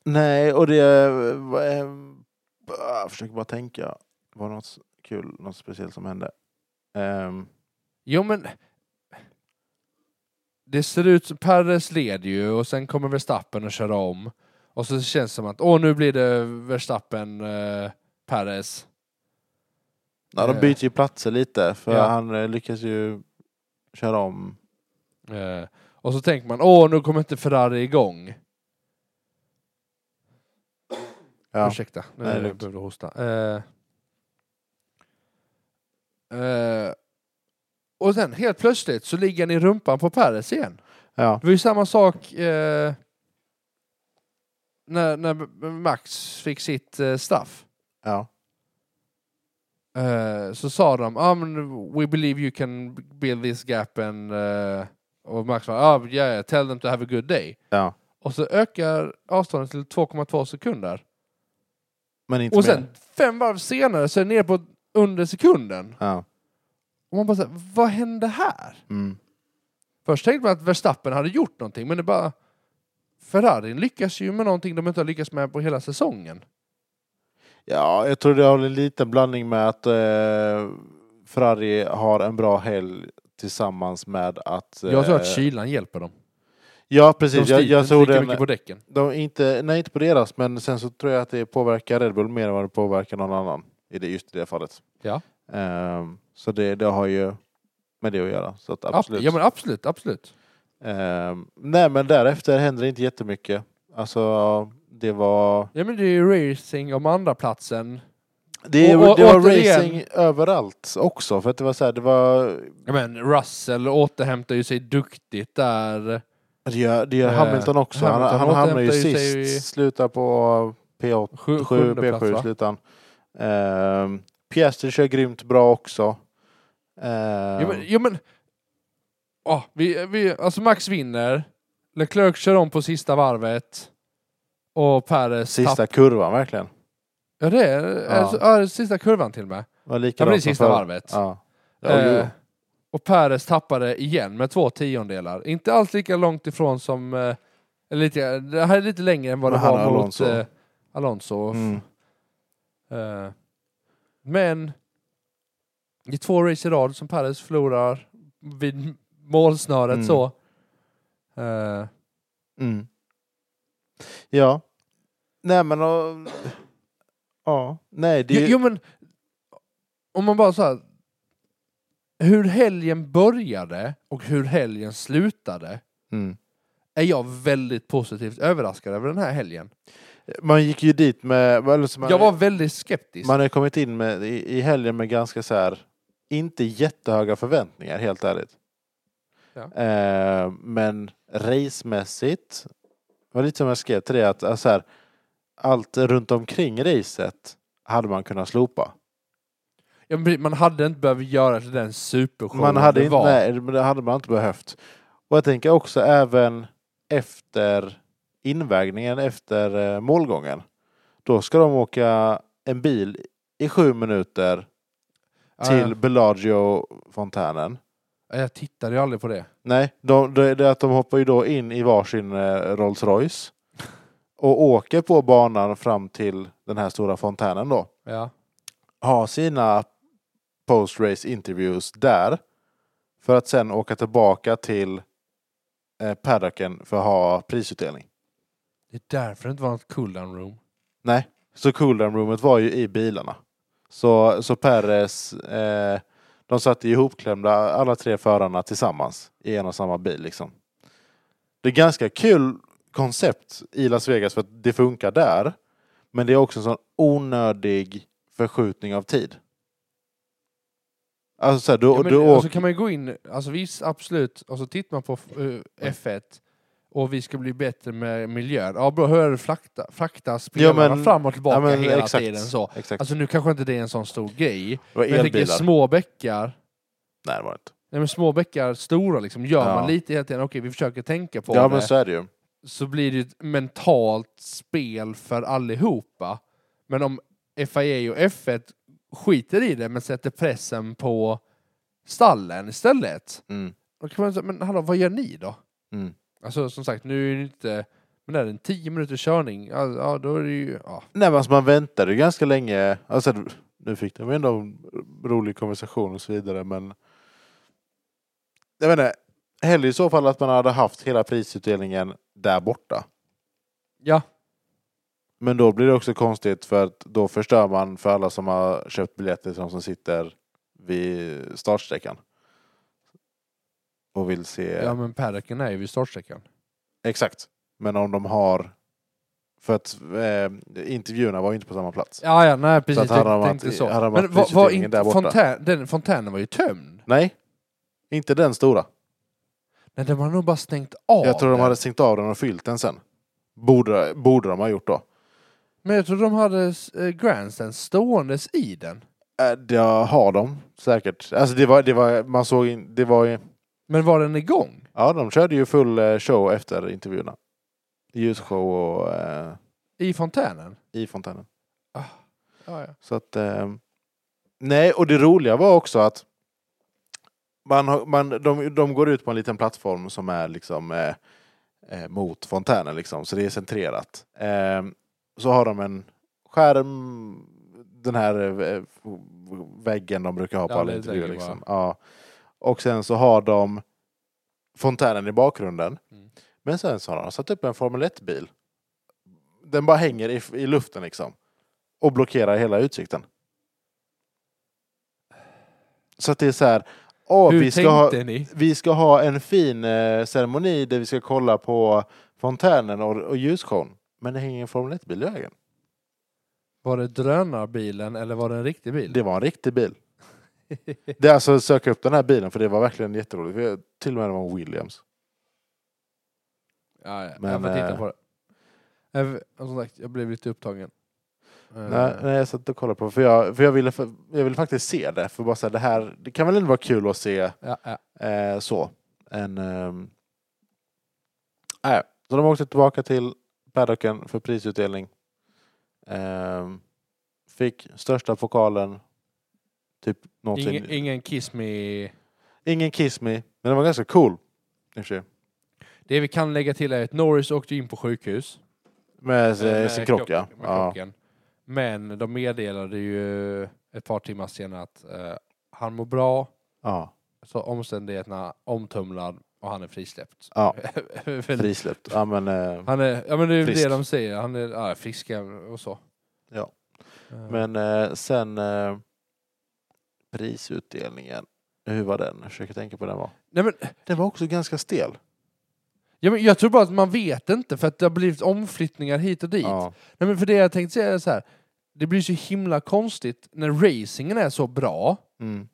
Nej, och det... eh, var, eh, Jag försöker bara tänka. Det var något kul, något speciellt som hände. Ehm, Jo men... Det ser ut som, Perres leder ju och sen kommer Verstappen och kör om. Och så känns det som att, åh nu blir det Verstappen, eh, Perres. ja, de Eh. byter ju platser lite för Ja. han eh, lyckas ju köra om. Eh, och så tänker man, åh nu kommer inte Ferrari igång. Ja. Ursäkta, nu Nej, det är lugnt. behövde jag hosta. Eh, eh, och sen helt plötsligt så ligger han i rumpan på Perez igen. Ja. Det var ju samma sak eh, när, när Max fick sitt eh, straff. ja. Eh, så sa de, ah, men we believe you can build this gap and... eh," och Max sa, ah, yeah, tell them to have a good day. ja. Och så ökar avståndet till 2,2 sekunder. Men inte Och sen mer. fem varv senare så är det ner på under sekunden. Ja. Och man bara såhär, vad hände här? Mm. Först tänkte man att Verstappen hade gjort någonting, men det bara... Ferrarin lyckas ju med någonting de inte har lyckats med på hela säsongen. Ja, jag tror det har en liten blandning med att eh, Ferrari har en bra helg tillsammans med att... eh, Jag tror att kylan hjälper dem. Ja, De precis. sliter jag, jag inte tror lika den, mycket på däcken. de, inte, nej, inte på deras, men sen så tror jag att det påverkar Red Bull mer än vad det påverkar någon annan. I det, just i det fallet. Ja. Ehm, så det, det har ju med det att göra. Så att absolut. Absolut. Ja, men absolut, absolut. Ehm, nej, men därefter hände det inte jättemycket. Alltså, det var... Ja, men det är ju racing om andra platsen. Det, Och- och- det var återigen- racing överallt också. För att det var så här, det var Ja, men Russell återhämtar ju sig duktigt där. Det gör, det gör Eh, Hamilton också. Hamilton han han hamnar ju återhämtar ju sist. sig i- Slutar på P8, Sju, 7, sjunde plats, P7 va? slutar han. Ehm, Piastri kör grymt bra också. Ehm, Ja, men... Ja, men ja, vi, vi, alltså Max vinner. Leclerc kör om på sista varvet. Och Perez Sista tappar. kurvan verkligen. Ja, det är, alltså, ja, det är sista kurvan till och med. Var Ja, likadant men det är som sista förra. varvet. Ja. Ja, Eh, jo. och Perez tappade igen med två tiondelar. Inte alls lika långt ifrån som... eh, Eller lite, det här är lite längre än vad Men det han var och mot Alonso. Alonso. Alonso. Mm. Eh, men det är två race i rad som Perez förlorar vid målsnöret Mm. så. Eh, Mm. Ja. Nej men och, Ja. Nej det är jo, jo men, om man bara så här, hur helgen började och hur helgen slutade Mm. är jag väldigt positivt överraskad över den här helgen. Man gick ju dit med... eller så man- jag var väldigt skeptisk. Man har ju kommit in med, i, i helgen med ganska så här, inte jättehöga förväntningar helt ärligt. Ja. Eh, men racemässigt, det var lite som jag skrev till dig, att alltså här, allt runt omkring racet hade man kunnat slopa. Ja, men man hade inte behövt göra till den supershow Man hade, det inte, var. nej, men det hade man inte behövt. Och jag tänker också även efter invägningen, efter eh, målgången. Då ska de åka en bil i sju minuter Ja, till Bellagio-fontänen. ja, jag tittade ju aldrig på det. Nej, de, det det är att de hoppar ju då in i varsin eh, Rolls Royce och åker på banan fram till den här stora fontänen då. Ja. Har sina post-race interviews där För att sen åka tillbaka till eh, paddocken för att ha prisutdelning. Det är därför det inte var något cooldown room. Nej, så cooldown roomet var ju i bilarna. Så, så Perez, eh, de satt ju ihopklämda alla tre förarna tillsammans i en och samma bil liksom. Det är ganska kul koncept i Las Vegas för att det funkar där. Men det är också en sån onödig förskjutning av tid. Alltså så här, du, Ja, du men, åker... och så kan man ju gå in, alltså visst absolut, och så tittar man på eh, F1 och vi ska bli bättre med miljön. Ja bra, hur är det frakta, frakta spelarna men- fram och tillbaka Ja, men hela exakt, tiden så? Exakt. Alltså nu kanske inte det är en sån stor grej, det var men jag tänker elbilar. små bäckar, Nej, det var det inte. nej men små bäckar stora liksom, gör Ja. man lite hela tiden, okej vi försöker tänka på Ja, det, men så... så är det ju. blir det ju ett mentalt spel för allihopa. Men om FIA och F1 skiter i det men sätter pressen på stallen istället, Mm. då kan man säga, men hallå, vad gör ni då? Mm. Alltså som sagt, nu är det inte, men är det en 10 minuters körning, ja, ja då är det ju, ja. Nej, men alltså man väntade ju ganska länge. Alltså, nu fick de ju ändå en rolig konversation och så vidare, men... Jag vet inte. Hellre i så fall att man hade haft hela prisutdelningen där borta. Ja, Men då blir det också konstigt för att då förstör man för alla som har köpt biljetter som, som sitter vid startsträckan. Och vill se... ja men paddocken är ju vid startsträckan. Exakt. Men om de har... För att eh, intervjuerna var ju inte på samma plats. Ja, ja, nej precis, att hade de jag varit- tänkte så. hade de varit Men var, var prisutdelningen inte, där borta? fontän, den, fontänen var ju tömd. Nej, inte den stora. Nej, den var nog bara stängt av. jag tror de den. hade stängt av den och fyllt den sen. Borde, borde de ha gjort då. Men jag tror de hade eh, grandstand ståendes i den. Äh, det har de säkert. Alltså det var, det var, man såg in, det var ju, Men var den igång? ja de körde ju full eh, show efter intervjuerna. Ljusshow och eh, I fontänen? i fontänen. Ja, ja. Så att, eh, nej, och det roliga var också att man, har- man, de, de går ut på en liten plattform som är liksom eh, eh, mot fontänen, liksom, så det är centrerat. Eh, så har de en skärm, den här eh, väggen de brukar ha på Ja, alla det är intervjuer. säkert Liksom. Ja. Och sen så har de fontänen i bakgrunden. Mm. Men sen så har de satt upp en Formel 1-bil. Den bara hänger i, i luften liksom. Och blockerar hela utsikten. Så att det är så här. Åh, Hur vi ska ha, tänkte ni? vi ska ha en fin eh, ceremoni där vi ska kolla på fontänen och, och ljusshowen. Men det hänger en Formel 1-bil i vägen. Var det drönarbilen eller var det en riktig bil? Det var en riktig bil. Det är alltså att söka upp den här bilen för det var verkligen jätteroligt. Vi- Till och med det var en Williams. Ja, ja. Men, jag får titta eh, på det. Jag, v- som sagt, jag blev lite upptagen. Eh, Nej, nej, jag satt och kollade på för jag, för jag, ville, för, jag ville faktiskt se det. För bara så här, det här, det kan väl ändå vara kul att se Ja, ja. eh, så. En, ehm, nej. Så de åkte tillbaka till paddocken för prisutdelning. Ehm, fick största pokalen. Typ någonting. Ingen, ingen kiss me. ingen kiss me, men den var ganska cool. I och för sig. Det vi kan lägga till är att Norris åkte in på sjukhus. Med, eh, med Alltså, sin krock, ja. krocken- med ja. krocken. Men de meddelade ju ett par timmar senare att eh, han mår bra, ja. så omständigheterna omtumlad och han är frisläppt. ja. Väl- Frisläppt. Ja, men, eh, han är, ja men det är ju Frisk. det de säger, han är ja, frisk och så. Ja. Eh, men eh, sen eh, prisutdelningen. Hur var den? Jag försöker tänka på hur den var. Nej, men, Den var också ganska stel. ja, men jag tror bara att man vet inte för att det har blivit omflyttningar hit och dit. Ja. Nej men för det jag tänkte säga är så här. Det blir så himla konstigt när racingen är så bra, Mm.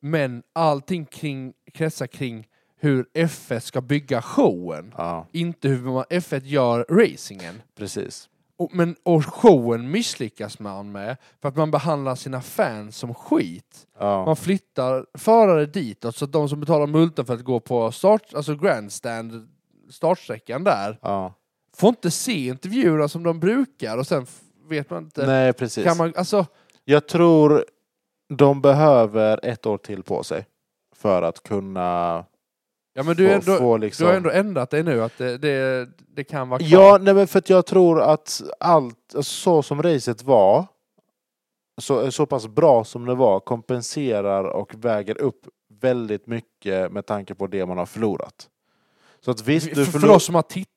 men allting kring, kretsar kring hur F1 ska bygga showen. ja, Inte hur man F1 gör racingen. precis. Och, men, och showen misslyckas man med för att man behandlar sina fans som skit. Ja. Man flyttar förare ditåt så att de som betalar multen för att gå på start, alltså grandstand, startsträckan där, Ja. får inte se intervjuerna som de brukar och sen f- vet man inte. Nej, precis. Kan man, alltså, Jag tror de behöver ett år till på sig för att kunna ja, men du, är få, ändå, få liksom... du har ändå ändrat dig nu, att det, det, det kan vara kvar. Ja, nej, men för att jag tror att allt, alltså, så som racet var, så, så pass bra som det var, kompenserar och väger upp väldigt mycket med tanke på det man har förlorat. Så att visst, du för, för oss förlorar... som har tittat.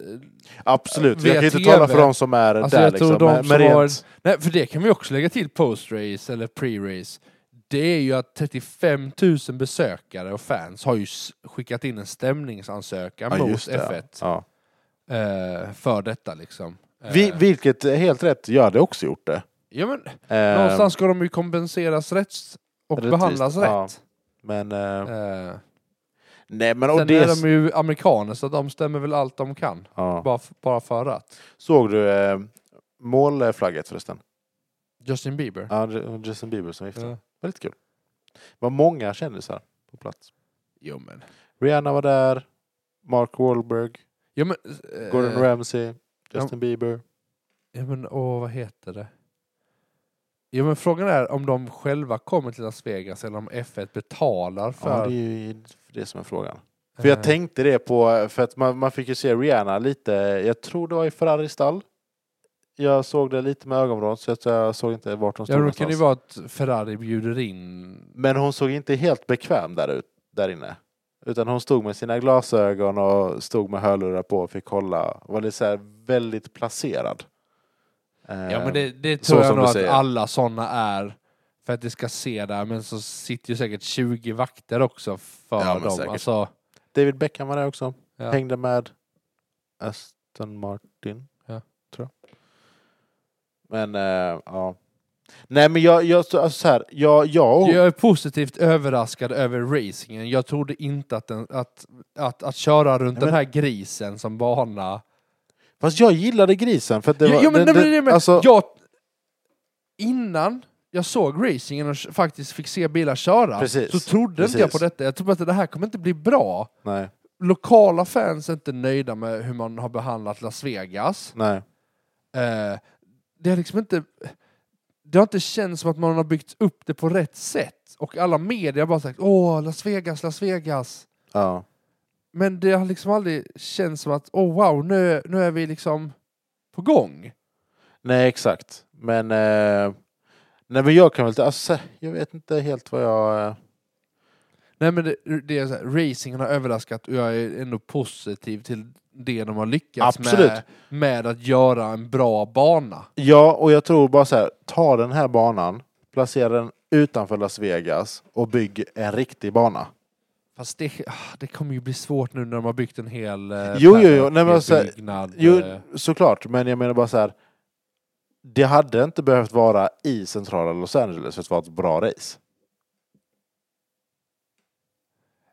eh, Absolut, jag via kan ju inte TV. tala för de som är Alltså, där jag tror liksom. de Men, som men har- rent, Nej, för det kan vi också lägga till post-race eller pre-race. Det är ju att 35 000 besökare och fans har ju s- skickat in en stämningsansökan Ja, mot just det, ja. F1 Ja. eh, för detta liksom. Eh, Vi, vilket är helt rätt, jag hade också gjort det. ja, men, Eh, någonstans ska de ju kompenseras rätt och Rättvist, behandlas ja. rätt. Men, eh, Eh, nej, men och sen det, är de ju amerikaner så de stämmer väl allt de kan. ja. Bara, f- bara för att. Såg du eh, målflagget förresten? Justin Bieber. Ja, Ju- Justin Bieber som gifte sig. Ja. Det var lite kul. Det var många kändisar på plats. Jo men. Rihanna var där, Mark Wahlberg, Jo, men eh, Gordon Ramsay, Justin Bieber. Ja men åh, vad heter det? Ja men frågan är om de själva kommer till Las Vegas eller om F1 betalar för... eh, Ja, det är ju det som är frågan. För jag tänkte det på, för att man, man fick ju se Rihanna lite, jag tror det var i Ferraris stall. Jag såg det lite med ögonvrån så jag, jag såg inte vart hon Ja stod men då kan någonstans. det ju vara att Ferrari bjuder in... Men hon såg inte helt bekväm där, ut, där inne. Utan hon stod med sina glasögon och stod med hörlurar på och fick kolla. Var det så här väldigt placerad. Eh, Ja men det, det så tror jag som nog du att säger. alla sådana är för att det ska se där men så sitter ju säkert 20 vakter också för Ja, men dem. säkert. Alltså, David Beckham var där också. ja. Hängde med Aston Martin. Ja. Tror jag. Men eh, ja. Nej men jag, jag alltså så här, jag, jag, Jag är positivt överraskad över racingen. Jag trodde inte att, den, att, att, att köra runt Nej, den men- här grisen som bana fast jag gillade grisen för att det Jo, var, jo, men, det, nej, men, nej, men, alltså, jag, innan jag såg racingen och s- faktiskt fick se bilar köra Precis, så trodde inte jag på precis. detta. Jag trodde att det här kommer inte bli bra. nej, Lokala fans är inte nöjda med hur man har behandlat Las Vegas. nej, Eh, det har liksom inte... Det har inte känts som att man har byggt upp det på rätt sätt. Och alla medier har bara sagt åh, Las Vegas, Las Vegas. ja. Men det har liksom aldrig känts som att åh wow, nu, nu är vi liksom på gång. Nej, exakt. Men, eh, nej, men jag kan väl inte... Alltså, jag vet inte helt vad jag... Eh, Nej men det, det är så här, racingen har överraskat och jag är ändå positiv till det de har lyckats Absolut. med. Med att göra en bra bana. ja, och jag tror bara så här. Ta den här banan, placera den utanför Las Vegas och bygg en riktig bana. Fast det, ah, det kommer ju bli svårt nu när de har byggt en hel eh, Jo, jo, jo. paddock, Nej, men hel så här- byggnad. Jo, eh, såklart. Men jag menar bara så här. Det hade inte behövt vara i centrala Los Angeles för att vara ett bra race.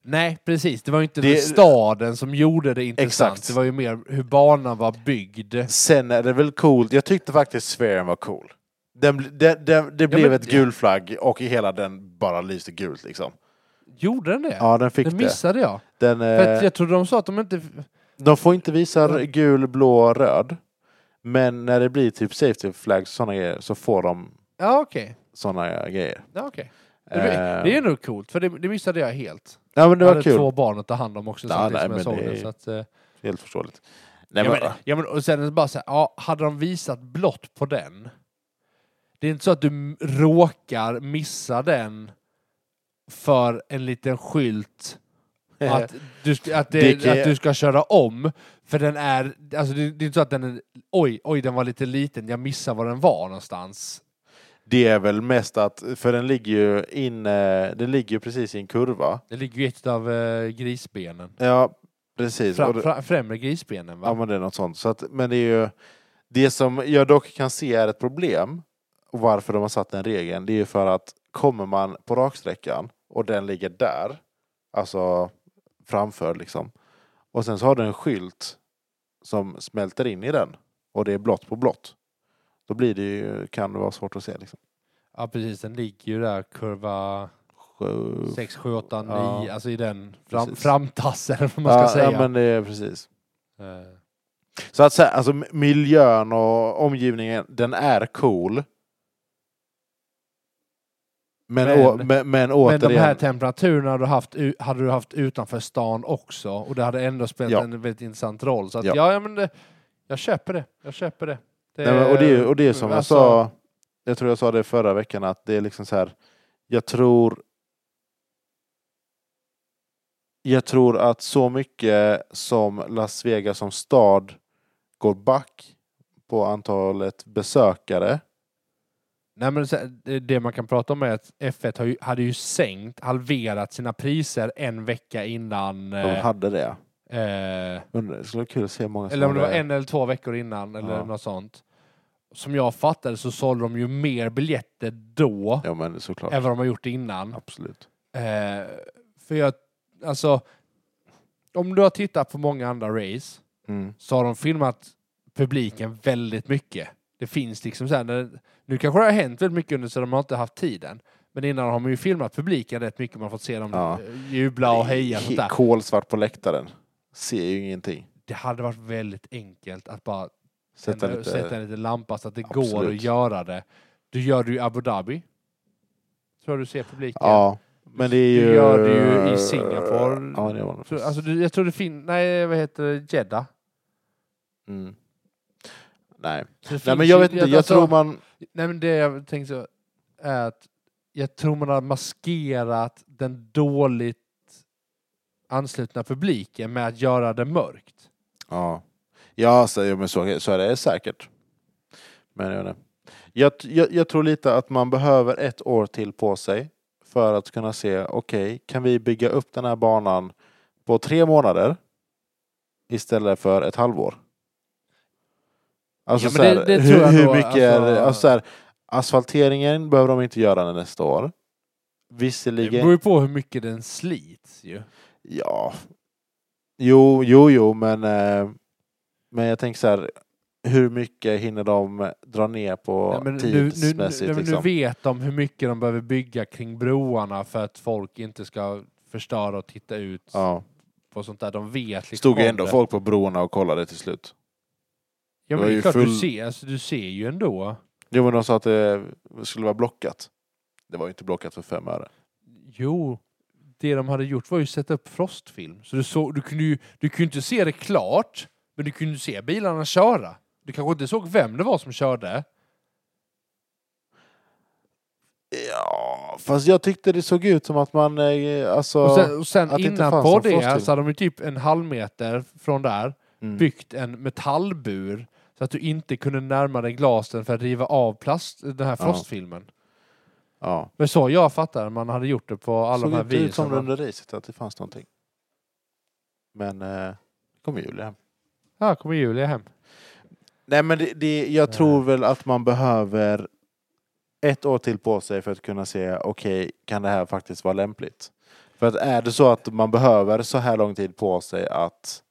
Nej precis, det var ju inte Det- staden som gjorde det intressant. Exakt. Det var ju mer hur banan var byggd. Sen är det väl coolt. Jag tyckte faktiskt sfären var cool. Den, bl- den, den, det blev men- ett gul flagg och hela den bara lyste gult liksom. Gjorde den det? Ja, den fick det det. missade jag. Den, För eh, att jag trodde de sa att de inte... De får inte visa Ja. r- gul, blå, röd. Men när det blir typ safety flags sådana grejer så får de Ja okej. sådana grejer. Ja, okay. Eh, det, det är nog coolt, för det, det missade jag helt. ja men det Jag var hade kul. två barn att ta hand om också Ja, samtidigt nej, som jag men såg det det. är- Så att, eh, Helt förståeligt. Nej, ja, men, men, ja, men, och sen är det bara så här, ja, hade de visat blått på den, det är inte så att du m- råkar missa den för en liten skylt att du, ska- att, det, Det kan- att du ska köra om, för den är, alltså det, det är inte så att den är, oj, oj den var lite liten, jag missar var den var någonstans. det är väl mest att, för den ligger ju in, eh, den ligger ju precis i en kurva. Det ligger ju ett av eh, grisbenen, Ja, precis. Och Fram, det- fra, främre grisbenen va? Ja, men det är något sånt. Så att, men det är ju det som jag dock kan se är ett problem och varför de har satt den regeln. Det är ju för att kommer man på raksträckan och den ligger där, alltså framför liksom. Och sen så har du en skylt som smälter in i den och det är blått på blått. Då blir det ju, kan det vara svårt att se liksom. Ja precis, den ligger ju där kurva Sjö- 6, 7, 8, 9, Ja. alltså i den fram, Precis. framtassen eller vad man ska ja, säga. Ja, men det är precis. Eh, Så att säga, alltså m- miljön och omgivningen, den är cool. Men, Men- å, men, men men de här återigen, temperaturerna hade du, haft, u- hade du haft utanför stan också och det hade ändå spelat Ja. en väldigt intressant roll. Så att, ja. Ja. Ja, men det, jag köper det, jag köper det. det nej, men, och, det, är- och det är som jag alltså, sa, jag tror jag sa det förra veckan, att det är liksom så här, jag tror Jag tror att så mycket som Las Vegas som stad går back på antalet besökare. Nej, men så- det- det man kan prata om är att F1 har ju, hade ju sänkt, halverat sina priser en vecka innan. De eh, hade det. eh, Undrar, det skulle vara kul att se hur många som eller om det var hade- en eller två veckor innan eller Alltså, Ja. något sånt. Som jag fattade så sålde de ju mer biljetter då Ja men såklart. än vad de har gjort innan. Absolut. Eh, för jag, alltså, om du har tittat på många andra race Mm. så har de filmat publiken väldigt mycket. Det finns liksom så här, när, nu kanske det har hänt väldigt mycket under så de har inte haft tiden. Men innan har man ju filmat publiken rätt mycket, man har fått se dem Ja. eh, jubla och heja. och sånt där. Kolsvart på läktaren. Ser ju ingenting. Det hade varit väldigt enkelt att bara Sätta lite... sätta en liten lampa så att det går Absolut. att göra det. Du gör det ju i Abu Dhabi. Tror jag du ser publiken. Ja. Men det är ju... Du gör det ju i Singapore. Ja, det var det. Så, alltså, du- jag tror det finns... Nej, vad heter det? Jeddah. Mm. Nej. Så det Nej, men finns jag ju- vet inte. Jag alltså- tror man... Nej men det jag tänkte så är att jag tror man har maskerat den dåligt anslutna publiken med att göra det mörkt. Ja, ja så, ja, men så, så är det säkert. Men jag, vet inte. jag, t- jag, jag tror lite att man behöver ett år till på sig för att kunna se, okej, kan vi bygga upp den här banan på tre månader istället för ett halvår? Alltså Ja, men så här, det- det tror hur, jag hur nog, mycket är det? alltså- Alltså, så här, asfalteringen behöver de inte göra nästa år. Det Visserligen... beror ju på hur mycket den slits ju. Ja. Jo, jo, jo, men, eh, men jag tänker så här. Hur mycket hinner de dra ner på Nej, men nu, nu, nu, tidsmässigt? nej, men nu liksom? vet de hur mycket de behöver bygga kring broarna för att folk inte ska förstöra och titta ut ja. på sånt där. De vet liksom Stod ju om ändå det. folk på broarna och kollade till slut. Ja var men det är ju klart du full- ser, alltså, du ser ju ändå. Jo, men de sa att det skulle vara blockat. Det var ju inte blockat för fem öre. Jo, det de hade gjort var ju sätta upp frostfilm. Så du, såg, du kunde ju du kunde inte se det klart, men du kunde se bilarna köra. Du kanske inte såg vem det var som körde. Ja, fast jag tyckte det såg ut som att man... eh, Alltså, och sen, och sen att det inte innan fanns på någon det frostfilm. så hade de ju typ en halv meter från där mm. byggt en metallbur så att du inte kunde närma dig glasen för att riva av plast, den här Ja. frostfilmen. ja. Men så jag fattar, man hade gjort det på alla såg de här inte ut som videorna. under racet att det fanns någonting. Men eh, det kom Julia hem. Här kommer Julia hem. Nej, men det, det, jag Nej. tror väl att man behöver ett år till på sig för att kunna se, okej, kan det här faktiskt vara lämpligt? För att är det så att man behöver så här lång tid på sig att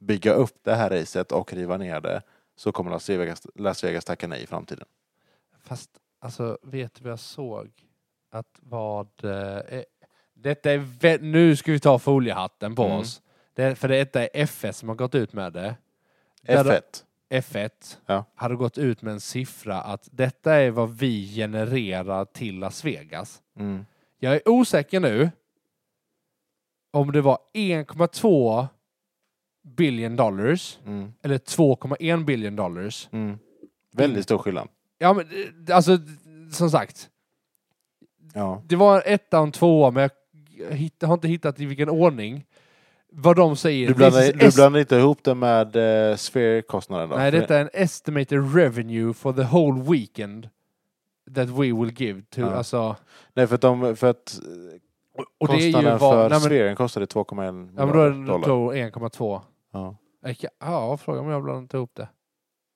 bygga upp det här racet och riva ner det så kommer Las Vegas, Las Vegas tacka nej i framtiden. Fast alltså, vet du vad jag såg? Att vad... Eh, eh, detta är vä- nu ska vi ta foliehatten på Mm. oss. Det, för detta är F1 som har gått ut med det. Där F1. F1 Ja. hade gått ut med en siffra att detta är vad vi genererar till Las Vegas. Mm. Jag är osäker nu om det var 1,2 billion dollars Mm. eller 2,1 billion dollars. Mm. Väldigt stor skillnad. Ja, men eh, alltså, som sagt. Ja. Det var etta och en tvåa, men jag hitt- har inte hittat i vilken ordning. Vad de säger. Du This blandar, is du est- blandar inte ihop det med eh, Sphere-kostnaden då? Nej, detta är en estimated revenue for the whole weekend that we will give to. Ja. Alltså, Nej, för att, de, för att och, och det är ju kostnaden vad... för nej, men, Spheren kostade 2,1 ja, men då är miljarder det då dollar. 1,2. Ja. Jag kan- Ja, fråga om jag blandat ihop det.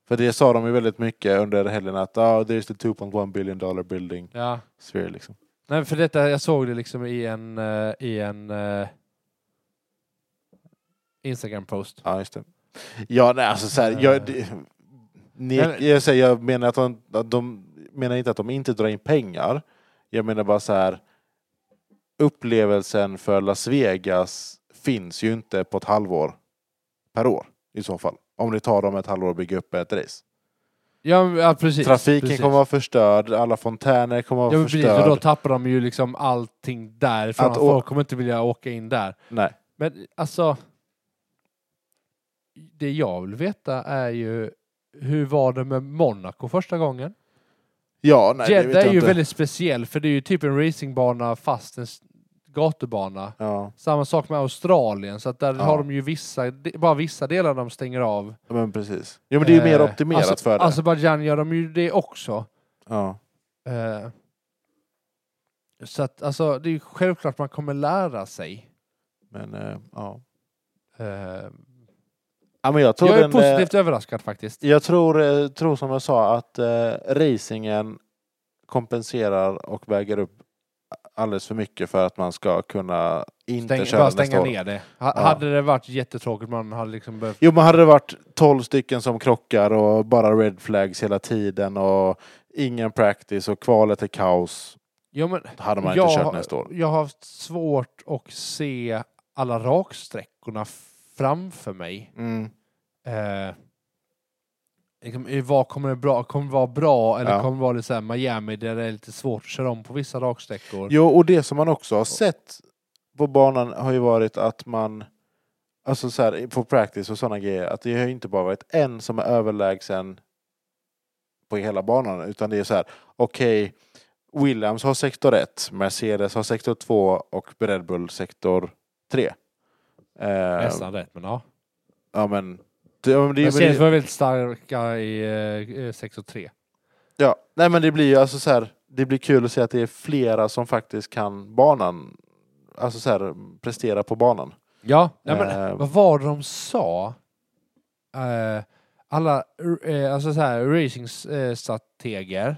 För det sa de ju väldigt mycket under helgen att oh, there's the 2.1 billion dollar building Ja. sphere liksom. Nej, för detta, jag såg det liksom i en, eh, i en eh, Instagram-post. Ja, just det. Ja, nej, alltså så här, jag, det, ni, Eh. Nej, men- jag, säger, jag menar att de, att de menar inte att de inte drar in pengar. Jag menar bara så här upplevelsen för Las Vegas finns ju inte på ett halvår per år i så fall. Om det tar dem ett halvår att bygga upp ett race. Ja, men- ja precis. Trafiken precis. kommer vara förstörd, alla fontäner kommer vara Ja, men precis, för förstörda. då tappar de ju liksom allting därifrån. Att Att å- folk kommer inte vilja åka in där. Nej. Men alltså, det jag vill veta är ju hur var det med Monaco första gången? Ja, nej, det vet Jeddah jag är ju inte. väldigt speciell för det är ju typ en racingbana fast en s- gatubana. Ja. Samma sak med Australien, så att där Ja. har de ju vissa, de- bara vissa delar de stänger av. Ja, men precis. Jo, men det är ju mer Eh, optimerat Azer- för det. Azerbaijan gör de ju det också. ja. Eh, så att alltså, det är ju självklart man kommer lära sig. Men, eh, ja. Eh, ja, men jag tror jag är den, eh, positivt överraskad faktiskt. Jag tror, eh, tror som jag sa att eh, racingen kompenserar och väger upp alldeles för mycket för att man ska kunna inte Stäng, köra bara nästa stänga år. ner det. Ha, Ja. Hade det varit jättetråkigt man hade liksom behövt... Jo, men hade det varit 12 stycken som krockar och bara red flags hela tiden och ingen practice och kvalet är kaos, Ja, men, då hade man jag, inte kört har- nästa år. jag har haft svårt att se alla raksträckorna f- framför mig. Mm. Eh, liksom, eh, vad kommer det bra, kommer det vara bra eller Ja. kommer det vara lite så här Miami där det är lite svårt att köra om på vissa raksträckor? Jo, och det som man också har sett på banan har ju varit att man, alltså så här, på practice och sådana grejer, att det har ju inte bara varit en som är överlägsen på hela banan, utan det är så här, okej, Williams har sektor 1, Mercedes har sektor 2 och Red Bull sektor 3. Eh, Nästan rätt men ja. ja, men, det, ja, men det, men Mercedes det, var väldigt starka i eh, eh, 6 och 3. ja, nej, men det blir ju alltså så här, det blir kul att se att det är flera som faktiskt kan banan, alltså så här, prestera på banan. Ja, nej, men, Eh. vad var det de sa? Eh, alla eh, alltså så här, racingstrateger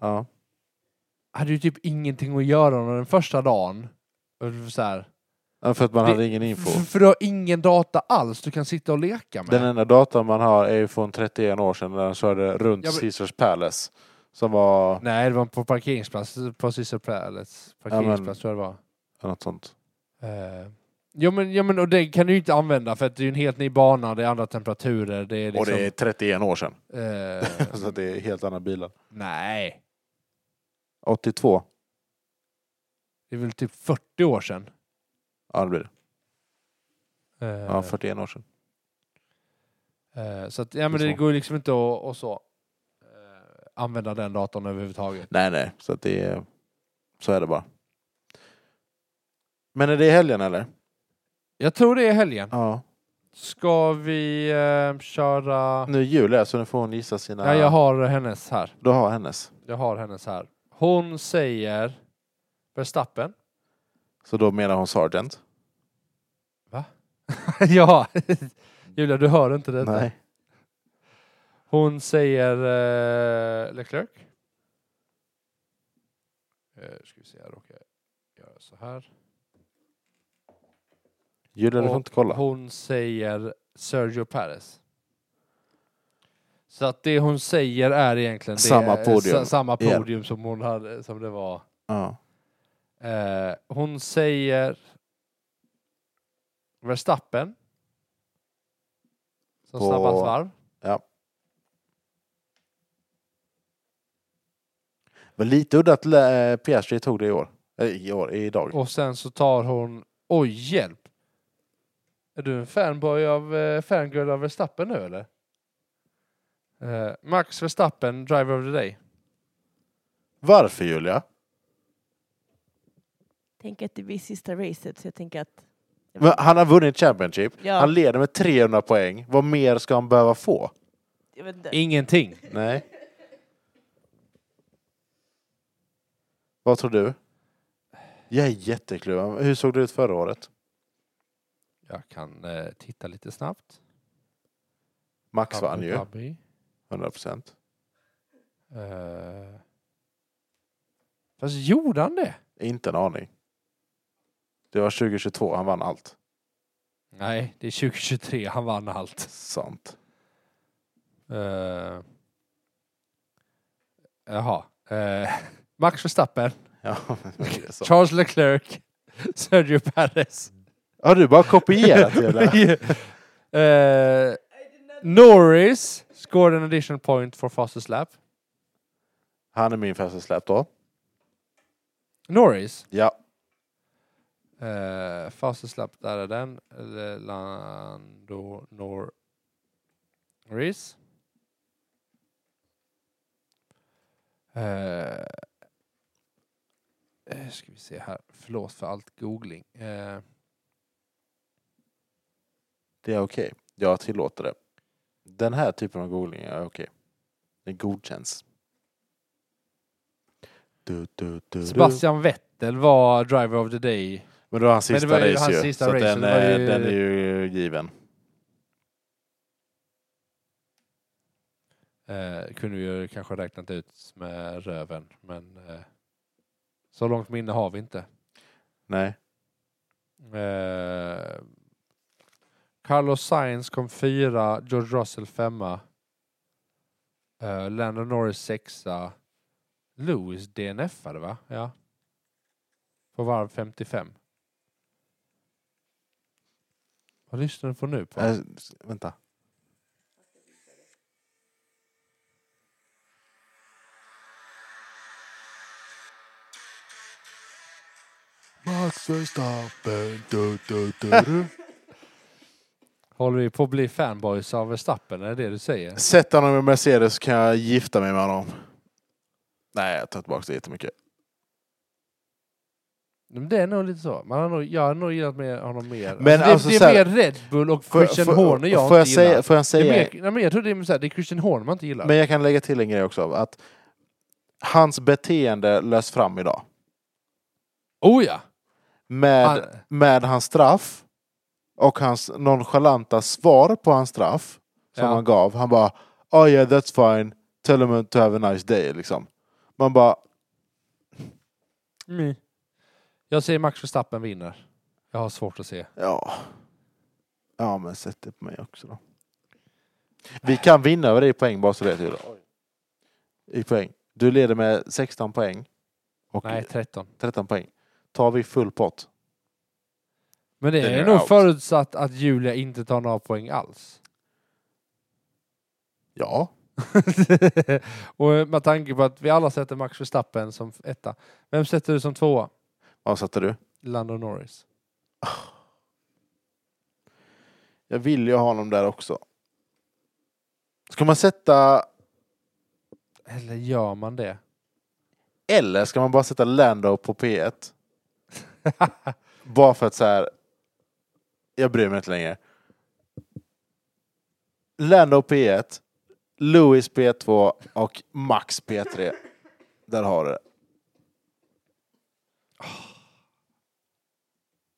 Ja. hade ju typ ingenting att göra under den första dagen. Och Så här, Ja, för att man Det- Mm. hade ingen info. För, för du har ingen data alls du kan sitta och leka med. Den enda datan man har är ju från 31 år sedan när han körde runt Ja, men- Caesars Palace. Som var Nej, det var på parkeringsplats, på Caesar Palace. Parkeringsplats tror jag det var. något sånt. Eh, jo, men, jo men och det kan du ju inte använda för att det är ju en helt ny bana, det är andra temperaturer, det är liksom... Och det är 31 år sedan. eh, Så det är helt andra bilar. nej, 82. det är väl typ 40 år sedan. Ja, det blir det. Eh, Ja, 41 år sedan. eh, så att, ja, men Det är det så. går ju liksom inte att och så, eh, använda den datorn överhuvudtaget. Nej, nej. Så att det är... Så är det bara. Men är det i helgen eller? Jag tror det är helgen. Ja. Ska vi eh, köra... Nu är jul här, så nu får hon gissa sina... Ja, jag har hennes här. Du har hennes. Jag har hennes här. Hon säger Verstappen. Så då menar hon Sargent. ja, Julia du hör inte detta. Nej. Hon säger eh, Leclerc. Eh, ska vi se, jag råkar göra så här. Julia, du får Och inte kolla. Hon säger Sergio Perez. Så att det hon säger är egentligen det, Samma podium. sa- samma Igen. podium som hon hade, som det var. Ja. Eh, hon säger Verstappen. Som På- snabbast varv. Men lite udda att eh, Piastri tog det i år. Eh, I år, idag. Och sen så tar hon... Oj, hjälp! Är du en fanboy av eh, fangirl av Verstappen nu eller? Eh, Max Verstappen, driver of the day. Varför Julia? Tänk att det blir sista racet, så jag tänker att... Men han har vunnit Championship. Ja. Han leder med 300 poäng. Vad mer ska han behöva få? Jag vet inte. Ingenting. Nej. Vad tror du? Jag är jättekluven. Hur såg det ut förra året? Jag kan eh, titta lite snabbt. Max vann ju, Abu Dhabi. 100 procent. Eh, fast gjorde han det? Inte en aning. Det var 2022, han vann allt. Nej, det är 2023. Han vann allt. Sant. Uh, jaha. Eh, Max Verstappen, Ja, men det är sant. Charles Leclerc, Sergio Perez. Har du bara kopierat Julia? Eh, Norris scored an additional point for fastest lap. Han är min fasta släpp då. Norris? Ja. Uh, fastest lap, där är den. Eller Lando Norris. Eh, eh, ska vi se här, förlåt för allt googling. Eh, Det är okej. Jag tillåter det. Den här typen av googling är okej. Den godkänns. Du, du, du, du. Sebastian Vettel var driver of the day. Men det var hans Men det sista var ju race hans ju. sista så race, den, så det var är- ju- den är ju given. Eh, kunde vi ju kanske räknat ut med röven, men eh, så långt minne har vi inte. Nej. Eh, Carlos Sainz kom fyra, George Russell femma. Eh, Lando Norris sexa. Lewis DNF-ade va? Ja. På varv 55. Vad lyssnar du på nu? På? Äh, s- vänta. Max Verstappen. Du, du, du, du. Håller vi på att bli fanboys av Verstappen? Är det det du säger? Sätt honom i Mercedes så kan jag gifta mig med honom. Nej, jag tar tillbaka det jättemycket. Men det är nog lite så. Man har nog, jag har nog gillat med honom mer. Men det, alltså det så här- är mer Red Bull och Christian Horner jag får inte jag säga, gillar. får jag Det är säga mer, nej, men jag tror det är, så här, det är Christian Horner man inte gillar. Men jag kan lägga till en grej också. Att hans beteende lös fram idag. oh ja! Med, Han- med hans straff och hans nonchalanta svar på hans straff som Ja. han gav. Han bara oh yeah that's fine, tell him to have a nice day liksom. Man bara Mm. Jag säger Max Verstappen vinner. Jag har svårt att se. ja. Ja men sätt det på mig också då. Vi kan vinna över dig i poäng bara så det är tydligt. I poäng. Du leder med 16 poäng och Nej, 13. 13 poäng. Tar vi full pott Men det Den är är nog out. förutsatt att Julia inte tar några poäng alls. Ja. och eh, med tanke på att vi alla sätter Max Verstappen som etta. Vem sätter du som tvåa? Vad satte du? Lando Norris. Jag vill ju ha honom där också. Ska man sätta... Eller gör man det? Eller ska man bara sätta Lando på P1? bara för att så här... Jag bryr mig inte längre. Lando P1, Louis P2 och Max P3. Där har du det.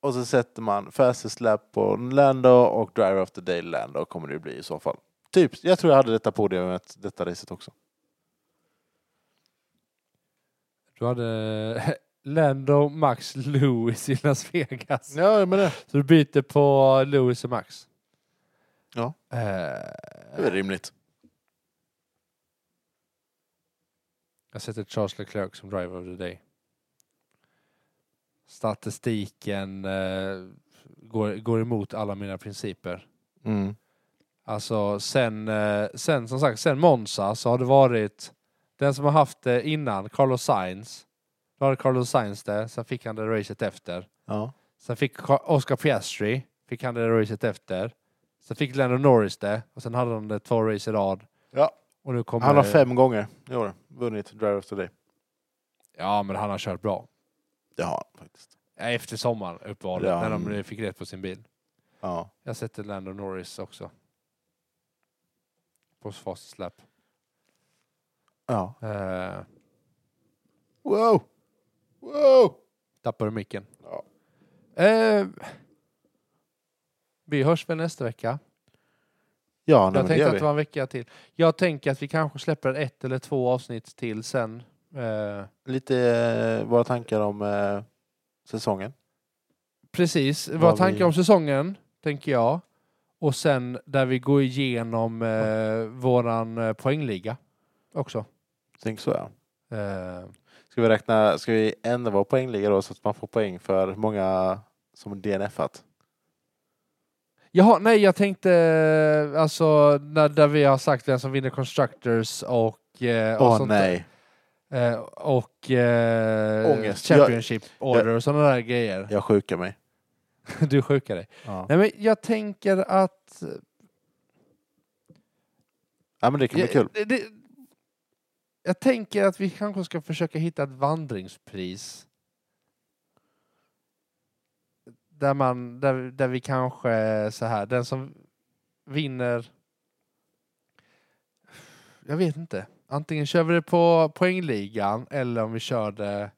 Och så sätter man fastest lap på Lando och driver of the day Lando kommer det ju bli i så fall. Typ, jag tror jag hade detta podiumet, detta racet också. Du hade eh, Lando, Max, Lewis i Las Vegas. Ja, men det Så du byter på Lewis och Max? Ja. det är Eh, väl rimligt. Jag sätter Charles Leclerc som driver of the day. Statistiken eh, går, går emot alla mina principer. Mm. Alltså sen, eh, sen som sagt, sen Monza så har det varit den som har haft det innan, Carlos Sainz. Då hade Carlos Sainz det, sen fick han det racet efter. Ja. Sen fick Ka- Oscar Piastri, fick han det racet efter. Sen fick Lando Norris det, och sen hade han det två race i rad. Ja. Och nu kommer, Han har fem gånger i år vunnit Driver of the Day. Ja, men han har kört bra. Det har han faktiskt. Nej, Efter sommaruppehållet, Ja, när de mm. eh, fick rätt på sin bil. Ja. Jag sätter Lando Norris också. På fast släpp. ja. Eh, Wow! Wow! tappar du micken? Ja. Eh, vi hörs väl nästa vecka? Ja, nej, jag men det tänkte gör att vi. det var en vecka till. Jag tänker att vi kanske släpper ett eller två avsnitt till sen. Eh, Lite eh, våra tankar om eh, säsongen. precis, Vad vad vi- tankar om säsongen, tänker jag. Och sen där vi går igenom eh, våran eh, poängliga också. Tänk så ja. Eh, Ska vi räkna, ska vi ändra vår poängliga då så att man får poäng för hur många som DNF-at? Jaha, nej jag tänkte eh, alltså när, där vi har sagt vem som vinner Constructors och, eh, och Åh sånt där. nej! Eh, och eh, Ångest. Championship Order och sådana där grejer. Jag sjukar mig. Du sjukar dig. Ja. Nej men jag tänker att... ja, men det kan bli kul. Det, det, jag tänker att vi kanske ska försöka hitta ett vandringspris där, man, där, där vi kanske så här, den som vinner... Jag vet inte. Antingen kör vi det på poängligan eller om vi kör det...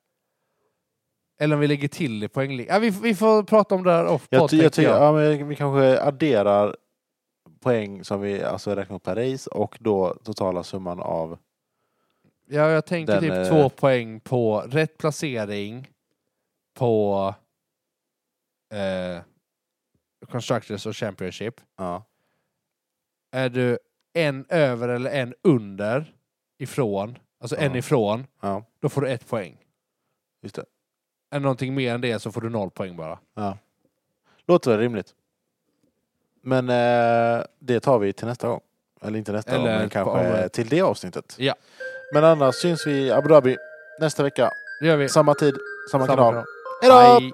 Eller om vi lägger till i poängligan. Ja, vi, vi får prata om det här off Jag, pod, ty- jag tänker tycker, ja, men vi kanske adderar poäng som vi alltså räknar upp per race och då totala summan av... Ja, jag tänker Den, typ eh, två poäng på rätt placering på eh, Constructors och Championship. Ja. Är du en över eller en under ifrån, alltså en Ja. ifrån, Ja, då får du ett poäng. just det. Är någonting mer än det så får du noll poäng bara. Låter väl rimligt. Men eh, det tar vi till nästa gång. Eller inte nästa Eller gång, men på avsnitt. kanske till det avsnittet. Ja. Men annars syns vi i Abu Dhabi nästa vecka. Det gör vi. Samma tid, samma, Samma kanal. kanal. Hej då! Hej.